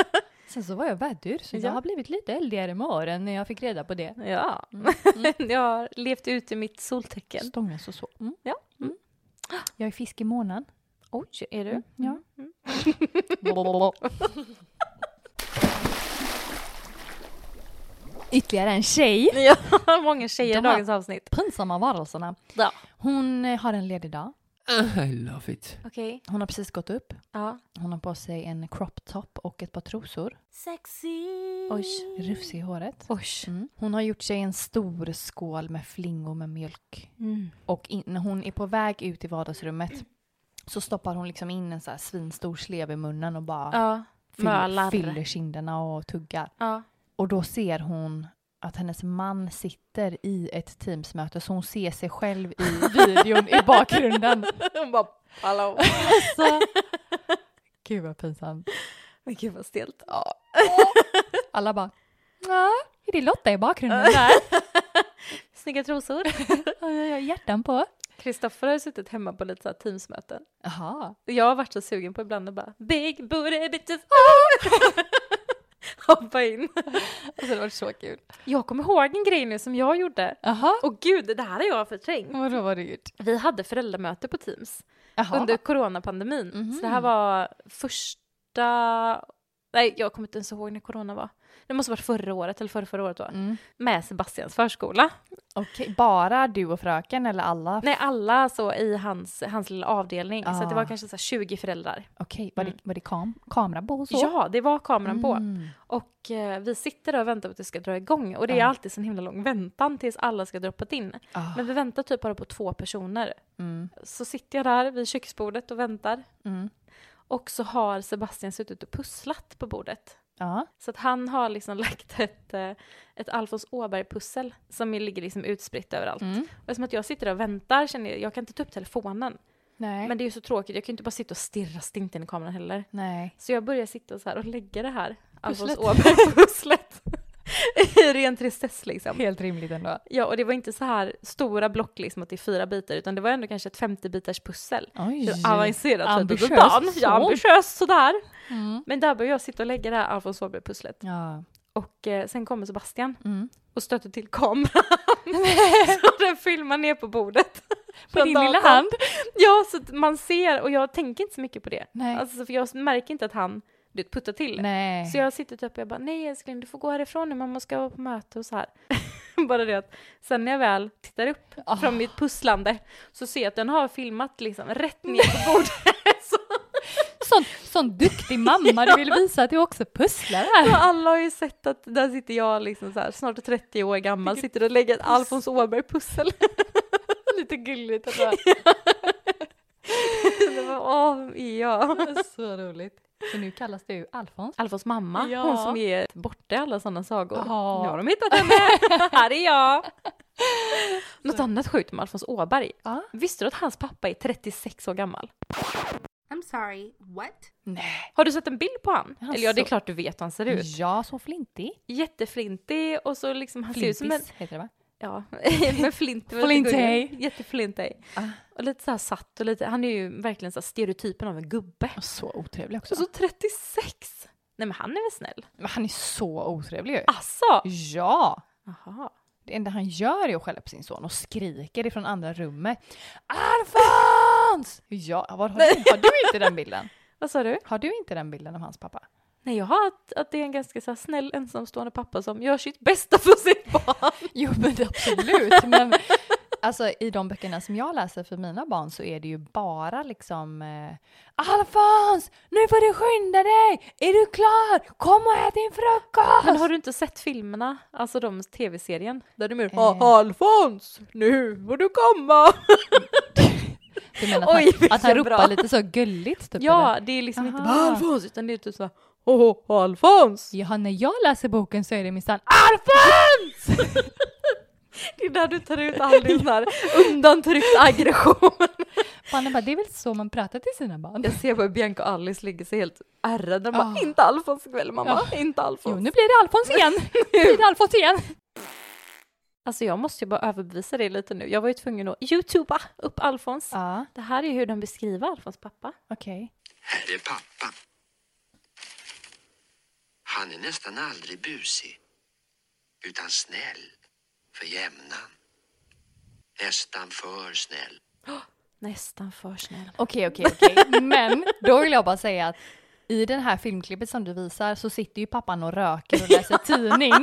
[SPEAKER 1] Sen så var jag vädur, så
[SPEAKER 2] Ja.
[SPEAKER 1] jag har blivit lite eldigare med åren när jag fick reda på det.
[SPEAKER 2] Ja,
[SPEAKER 1] Mm.
[SPEAKER 2] jag har levt ut i mitt soltecken.
[SPEAKER 1] Stångas och så. Mm.
[SPEAKER 2] Ja.
[SPEAKER 1] Mm. Jag är fisk i månaden.
[SPEAKER 2] Oj, är du?
[SPEAKER 1] Ja. Ytterligare en tjej.
[SPEAKER 2] Många tjejer i
[SPEAKER 1] De har-
[SPEAKER 2] dagens avsnitt.
[SPEAKER 1] Pinsamma varelserna.
[SPEAKER 2] Ja.
[SPEAKER 1] Hon eh, har en ledig dag.
[SPEAKER 4] Ah, I love it.
[SPEAKER 2] Okej.
[SPEAKER 1] Hon har precis gått upp.
[SPEAKER 2] Ja.
[SPEAKER 1] Hon har på sig en crop top och ett par trosor.
[SPEAKER 2] Oj.
[SPEAKER 1] Rufsig i håret.
[SPEAKER 2] Oj.
[SPEAKER 1] Mm. Hon har gjort sig en stor skål med flingor med mjölk. Och in, när hon är på väg ut i vardagsrummet så stoppar hon liksom in en så här svinstor slev i munnen och bara
[SPEAKER 2] Ja.
[SPEAKER 1] fyller,
[SPEAKER 2] mölar.
[SPEAKER 1] fyller kinderna och tuggar.
[SPEAKER 2] Ja.
[SPEAKER 1] Och då ser hon att hennes man sitter i ett teamsmöte så hon ser sig själv i videon i bakgrunden.
[SPEAKER 2] Hon bara, hallå.
[SPEAKER 1] Så. Gud vad pinsamt.
[SPEAKER 2] Men gud vad stelt.
[SPEAKER 1] Alla bara ja, är det Lotta i bakgrunden där?
[SPEAKER 2] Snygga trosor.
[SPEAKER 1] Ja, Jag har hjärtan på.
[SPEAKER 2] Kristoffer har ju suttit hemma på lite så här teamsmöten.
[SPEAKER 1] Jaha.
[SPEAKER 2] Jag har varit så sugen på ibland att bara Big booty bitches ah! Hoppa in.
[SPEAKER 1] Alltså det var så kul.
[SPEAKER 2] Jag kommer ihåg en grej nu som jag gjorde.
[SPEAKER 1] Jaha.
[SPEAKER 2] Och gud, det här har jag förträngt.
[SPEAKER 1] Vadå var det gjort?
[SPEAKER 2] Vi hade föräldramöte på Teams
[SPEAKER 1] Jaha.
[SPEAKER 2] under coronapandemin. Så det här
[SPEAKER 1] Mhm.
[SPEAKER 2] var första... Nej, jag kommer inte ens ihåg när corona var. Det måste ha varit förra året eller förra, förra året då.
[SPEAKER 1] Mm.
[SPEAKER 2] Med Sebastians förskola.
[SPEAKER 1] Okej, bara du och fröken eller alla?
[SPEAKER 2] Nej, alla så i hans, hans lilla avdelning. Så att det var
[SPEAKER 1] Ah.
[SPEAKER 2] kanske så här 20 föräldrar.
[SPEAKER 1] Okej, var, det, var det kam kamera på och så?
[SPEAKER 2] Ja, det var kameran på.
[SPEAKER 1] Mm.
[SPEAKER 2] Och eh, vi sitter där och väntar på att det ska dra igång. Och det är
[SPEAKER 1] Ja.
[SPEAKER 2] alltid så en himla lång väntan tills alla ska droppat in.
[SPEAKER 1] Ah.
[SPEAKER 2] Men vi väntar typ bara på två personer.
[SPEAKER 1] Mm.
[SPEAKER 2] Så sitter jag där vid köksbordet och väntar.
[SPEAKER 1] Mm.
[SPEAKER 2] Och så har Sebastian suttit och pusslat på bordet.
[SPEAKER 1] Ja.
[SPEAKER 2] Så att han har liksom lagt ett, eh, ett Alfons Åberg-pussel som ju ligger liksom utspritt överallt.
[SPEAKER 1] Mm.
[SPEAKER 2] Och som att jag sitter där och väntar känner jag, jag kan inte ta upp telefonen.
[SPEAKER 1] Nej.
[SPEAKER 2] Men det är ju så tråkigt, jag kan ju inte bara sitta och stirra stint in i kameran heller.
[SPEAKER 1] Nej.
[SPEAKER 2] Så jag börjar sitta och, så här och lägga det här Alfons
[SPEAKER 1] Pusslet.
[SPEAKER 2] Åberg-pusslet i ren tristess liksom.
[SPEAKER 1] Helt rimligt ändå.
[SPEAKER 2] Ja, och det var inte så här stora block liksom att det är fyra bitar, utan det var ändå kanske ett 50 bitars pussel.
[SPEAKER 1] Oj.
[SPEAKER 2] Så Avancerat
[SPEAKER 1] Ambitiöst
[SPEAKER 2] typ av dagen. Ja,
[SPEAKER 1] så.
[SPEAKER 2] ambitiöst sådär.
[SPEAKER 1] Mm.
[SPEAKER 2] Men där började jag sitta och lägga det här Alfons Åberg-pusslet.
[SPEAKER 1] Ja.
[SPEAKER 2] Och eh, sen kommer Sebastian
[SPEAKER 1] Mm.
[SPEAKER 2] och stöter till kameran. så den filmar ner på bordet.
[SPEAKER 3] På din lilla
[SPEAKER 2] datorn.
[SPEAKER 3] hand.
[SPEAKER 2] Ja, så att man ser och jag tänker inte så mycket på det.
[SPEAKER 1] Nej.
[SPEAKER 2] Alltså, för jag märker inte att han du vet, puttar till.
[SPEAKER 1] Nej.
[SPEAKER 2] Så jag sitter typ och jag bara, nej älskling du får gå härifrån nu, mamma ska vara på möte och så här. bara det att sen när jag väl tittar upp
[SPEAKER 3] Ah.
[SPEAKER 2] från mitt pusslande så ser jag att den har filmat liksom rätt ner på bordet. så
[SPEAKER 3] Sån, sån duktig mamma, du vill visa att du också pusslar här.
[SPEAKER 2] så alla har ju sett att där sitter jag liksom så här, snart 30 år gammal, sitter och lägger ett Alfons Åberg-pussel.
[SPEAKER 3] Lite gulligt. Att vara.
[SPEAKER 2] Det var, Åh, är jag?
[SPEAKER 3] Så roligt. Så nu kallas du Alfons.
[SPEAKER 2] Alfons mamma,
[SPEAKER 3] Ja.
[SPEAKER 2] hon som är borta i alla sådana sagor.
[SPEAKER 3] Ja.
[SPEAKER 2] Nu har de hittat henne, här är jag! Något annat sjukt med Alfons Åberg.
[SPEAKER 1] Ja.
[SPEAKER 2] Visste du att hans pappa är 36 år gammal?
[SPEAKER 6] I'm sorry, what?
[SPEAKER 2] Har du sett en bild på han?
[SPEAKER 1] Han
[SPEAKER 2] Eller ja, det är
[SPEAKER 1] så-
[SPEAKER 2] klart du vet hur han ser ut.
[SPEAKER 1] Ja, så flintig.
[SPEAKER 2] Jätteflintig och så liksom han ser ut som en...
[SPEAKER 1] Flintis heter det va?
[SPEAKER 2] Ja, men flint. var lite
[SPEAKER 1] Flintig.
[SPEAKER 2] gullig. Jätteflintig. Och lite så här satt och lite, han är ju verkligen så här stereotypen av en gubbe.
[SPEAKER 1] Så otrevlig också.
[SPEAKER 2] Och så 36! Nej men han är väl snäll?
[SPEAKER 1] Men han är så otrevlig
[SPEAKER 3] Ah.
[SPEAKER 1] ju.
[SPEAKER 2] Asså!
[SPEAKER 1] Ja!
[SPEAKER 2] Jaha.
[SPEAKER 1] Det enda han gör är att skälla på sin son och skriker ifrån andra rummet. Alfons! Ja, var, har, du, har du inte den bilden?
[SPEAKER 2] Vad sa du?
[SPEAKER 1] Har du inte den bilden av hans pappa?
[SPEAKER 2] Nej jag har att, att det är en ganska så här snäll ensamstående pappa som gör sitt bästa för sitt barn.
[SPEAKER 1] Jo men det- absolut. men alltså, i de böckerna som jag läser för mina barn så är det ju bara liksom eh, Alfons! Nu får du skynda dig! Är du klar? Kom och ät din frukost!
[SPEAKER 2] Men har du inte sett filmerna, alltså de tv-serien? Där de är "Ah,
[SPEAKER 1] Eh.
[SPEAKER 2] Alfons! Nu får du komma!
[SPEAKER 1] Du menar att,
[SPEAKER 2] Oj,
[SPEAKER 1] han, att han
[SPEAKER 2] vilken bra.
[SPEAKER 1] ropar lite så gulligt? Typ,
[SPEAKER 2] Ja,
[SPEAKER 1] eller?
[SPEAKER 2] det är liksom inte
[SPEAKER 1] Aha.
[SPEAKER 2] bara Alfons utan det är typ såhär Åh, oh, Alfons!
[SPEAKER 1] ja, när jag läser boken så är det Ah, minsann
[SPEAKER 2] Alfons! det är där du tar ut all din sån här undantryckt aggression.
[SPEAKER 1] Mannen bara, det är väl så man pratar till sina barn?
[SPEAKER 2] Jag ser bara Bianca och Alice ligger sig helt ärrade. De bara, inte Alfons ikväll mamma, inte
[SPEAKER 1] Jo,
[SPEAKER 2] Alfons.
[SPEAKER 1] nu blir det Alfons igen! Nu blir det Alfons igen!
[SPEAKER 2] Alltså jag måste ju bara överbevisa det lite nu. Jag var ju tvungen att youtuba upp Alfons.
[SPEAKER 1] Ja,
[SPEAKER 2] Det här är ju hur de beskriver Alfons pappa.
[SPEAKER 1] okej.
[SPEAKER 7] Här är pappa. Han är nästan aldrig busig, utan snäll för jämnan. Nästan för snäll.
[SPEAKER 2] Nästan för snäll.
[SPEAKER 1] Okej, okej, okej. Men då vill jag bara säga att i den här filmklippet som du visar så sitter ju pappan och röker och läser tidning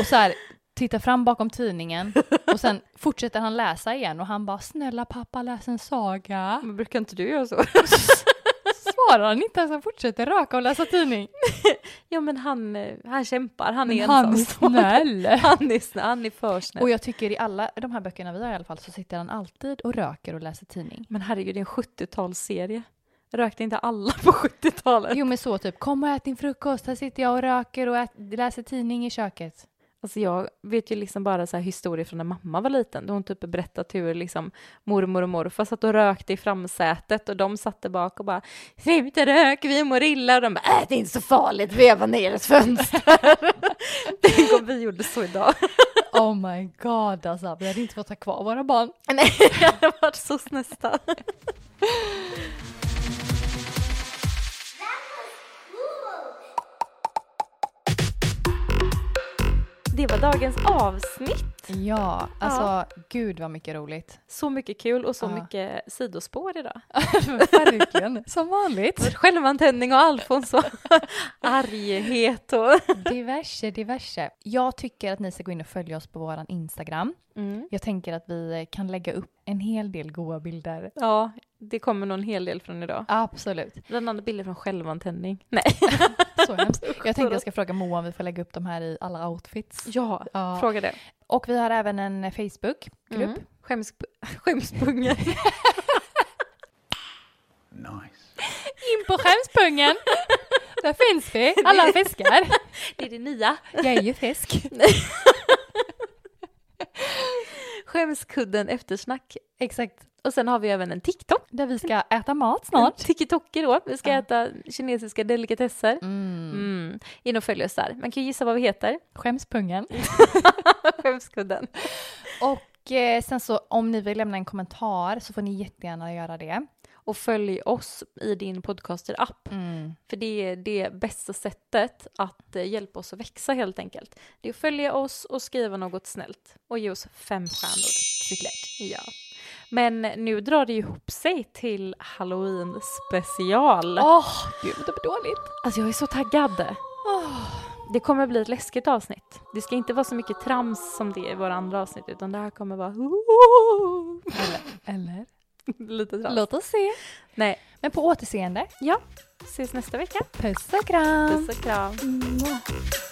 [SPEAKER 1] och så här tittar fram bakom tidningen och sen fortsätter han läsa igen och han bara snälla pappa läs en saga.
[SPEAKER 2] Men brukar inte du göra så?
[SPEAKER 1] Svarar han inte ens han fortsätter röka och läsa tidning.
[SPEAKER 2] ja men han, eh, han kämpar, han är
[SPEAKER 1] Men han är
[SPEAKER 2] ensamstående.
[SPEAKER 1] snäll.
[SPEAKER 2] Han är snäll, han är för snäll.
[SPEAKER 1] Och jag tycker i alla de här böckerna vi har i alla fall så sitter han alltid och röker och läser tidning.
[SPEAKER 2] Men herregud, det är en 70-talsserie. Rökte inte alla på 70-talet?
[SPEAKER 1] Jo men så typ kom och ät din frukost här sitter jag och röker och ät, läser tidning i köket.
[SPEAKER 2] Alltså jag vet ju liksom bara så här historier från när mamma var liten. Då hon typ berättat hur liksom mormor och morfar satt och rökte i framsätet och de satt där bak och bara “sluta rök, vi mår illa” och de bara “äh, det är inte så farligt, veva ner ett fönster”. Tänk om vi gjorde så idag.
[SPEAKER 1] Oh my god alltså, vi hade inte fått ha kvar våra barn.
[SPEAKER 2] Nej, jag hade varit så snästa. Det var dagens avsnitt.
[SPEAKER 1] Ja, alltså gud vad mycket roligt.
[SPEAKER 2] Så mycket kul och så
[SPEAKER 1] Ja.
[SPEAKER 2] mycket sidospår idag.
[SPEAKER 1] Verkligen, som vanligt.
[SPEAKER 2] Självantändning och Alfons och arghet och...
[SPEAKER 1] Diverse, diverse. Jag tycker att ni ska gå in och följa oss på våran Instagram.
[SPEAKER 2] Mm.
[SPEAKER 1] Jag tänker att vi kan lägga upp en hel del goa bilder.
[SPEAKER 2] Ja, det kommer nog en hel del från idag.
[SPEAKER 1] Absolut,
[SPEAKER 2] Bland annat bilder från självantändning. Nej.
[SPEAKER 1] så hemskt. Jag tänkte jag ska fråga Moa om vi får lägga upp de här i alla outfits.
[SPEAKER 2] Ja,
[SPEAKER 1] Ja.
[SPEAKER 2] fråga det.
[SPEAKER 1] Och vi har även en Facebookgrupp.
[SPEAKER 2] Mm. Skämsp- skämspungen.
[SPEAKER 3] In på skämspungen! Där finns vi, alla fiskar.
[SPEAKER 2] Det är det nya.
[SPEAKER 1] Jag är ju fisk.
[SPEAKER 2] Skämskudden eftersnack.
[SPEAKER 1] Exakt.
[SPEAKER 2] Och sen har vi även en TikTok.
[SPEAKER 1] Där vi ska äta mat snart.
[SPEAKER 2] TikToker då. Vi ska äta kinesiska delikatesser.
[SPEAKER 1] Mm.
[SPEAKER 2] Mm. In och följ oss där. Man kan ju gissa vad vi heter.
[SPEAKER 1] Skäms pungen.
[SPEAKER 2] Skämskudden.
[SPEAKER 1] Och eh, sen så om ni vill lämna en kommentar så får ni jättegärna göra det.
[SPEAKER 2] Och följ oss i din podcaster-app. För det är det bästa sättet att eh, hjälpa oss att växa helt enkelt. Det är att följa oss och skriva något snällt. Och ge oss fem stjärnor. Såklart. Ja. Men nu drar det ihop sig till Halloween special.
[SPEAKER 1] Åh, gud vad dåligt.
[SPEAKER 2] Alltså jag är så taggad. Det kommer bli ett läskigt avsnitt. Det ska inte vara så mycket trams som det är i våra andra avsnitt utan det här kommer vara
[SPEAKER 1] Eller?
[SPEAKER 2] lite trams.
[SPEAKER 1] Låt oss se.
[SPEAKER 2] Nej,
[SPEAKER 1] Men på återseende,
[SPEAKER 2] ja. Ses nästa vecka.
[SPEAKER 1] puss och kram.
[SPEAKER 2] Puss och kram.
[SPEAKER 1] Mua.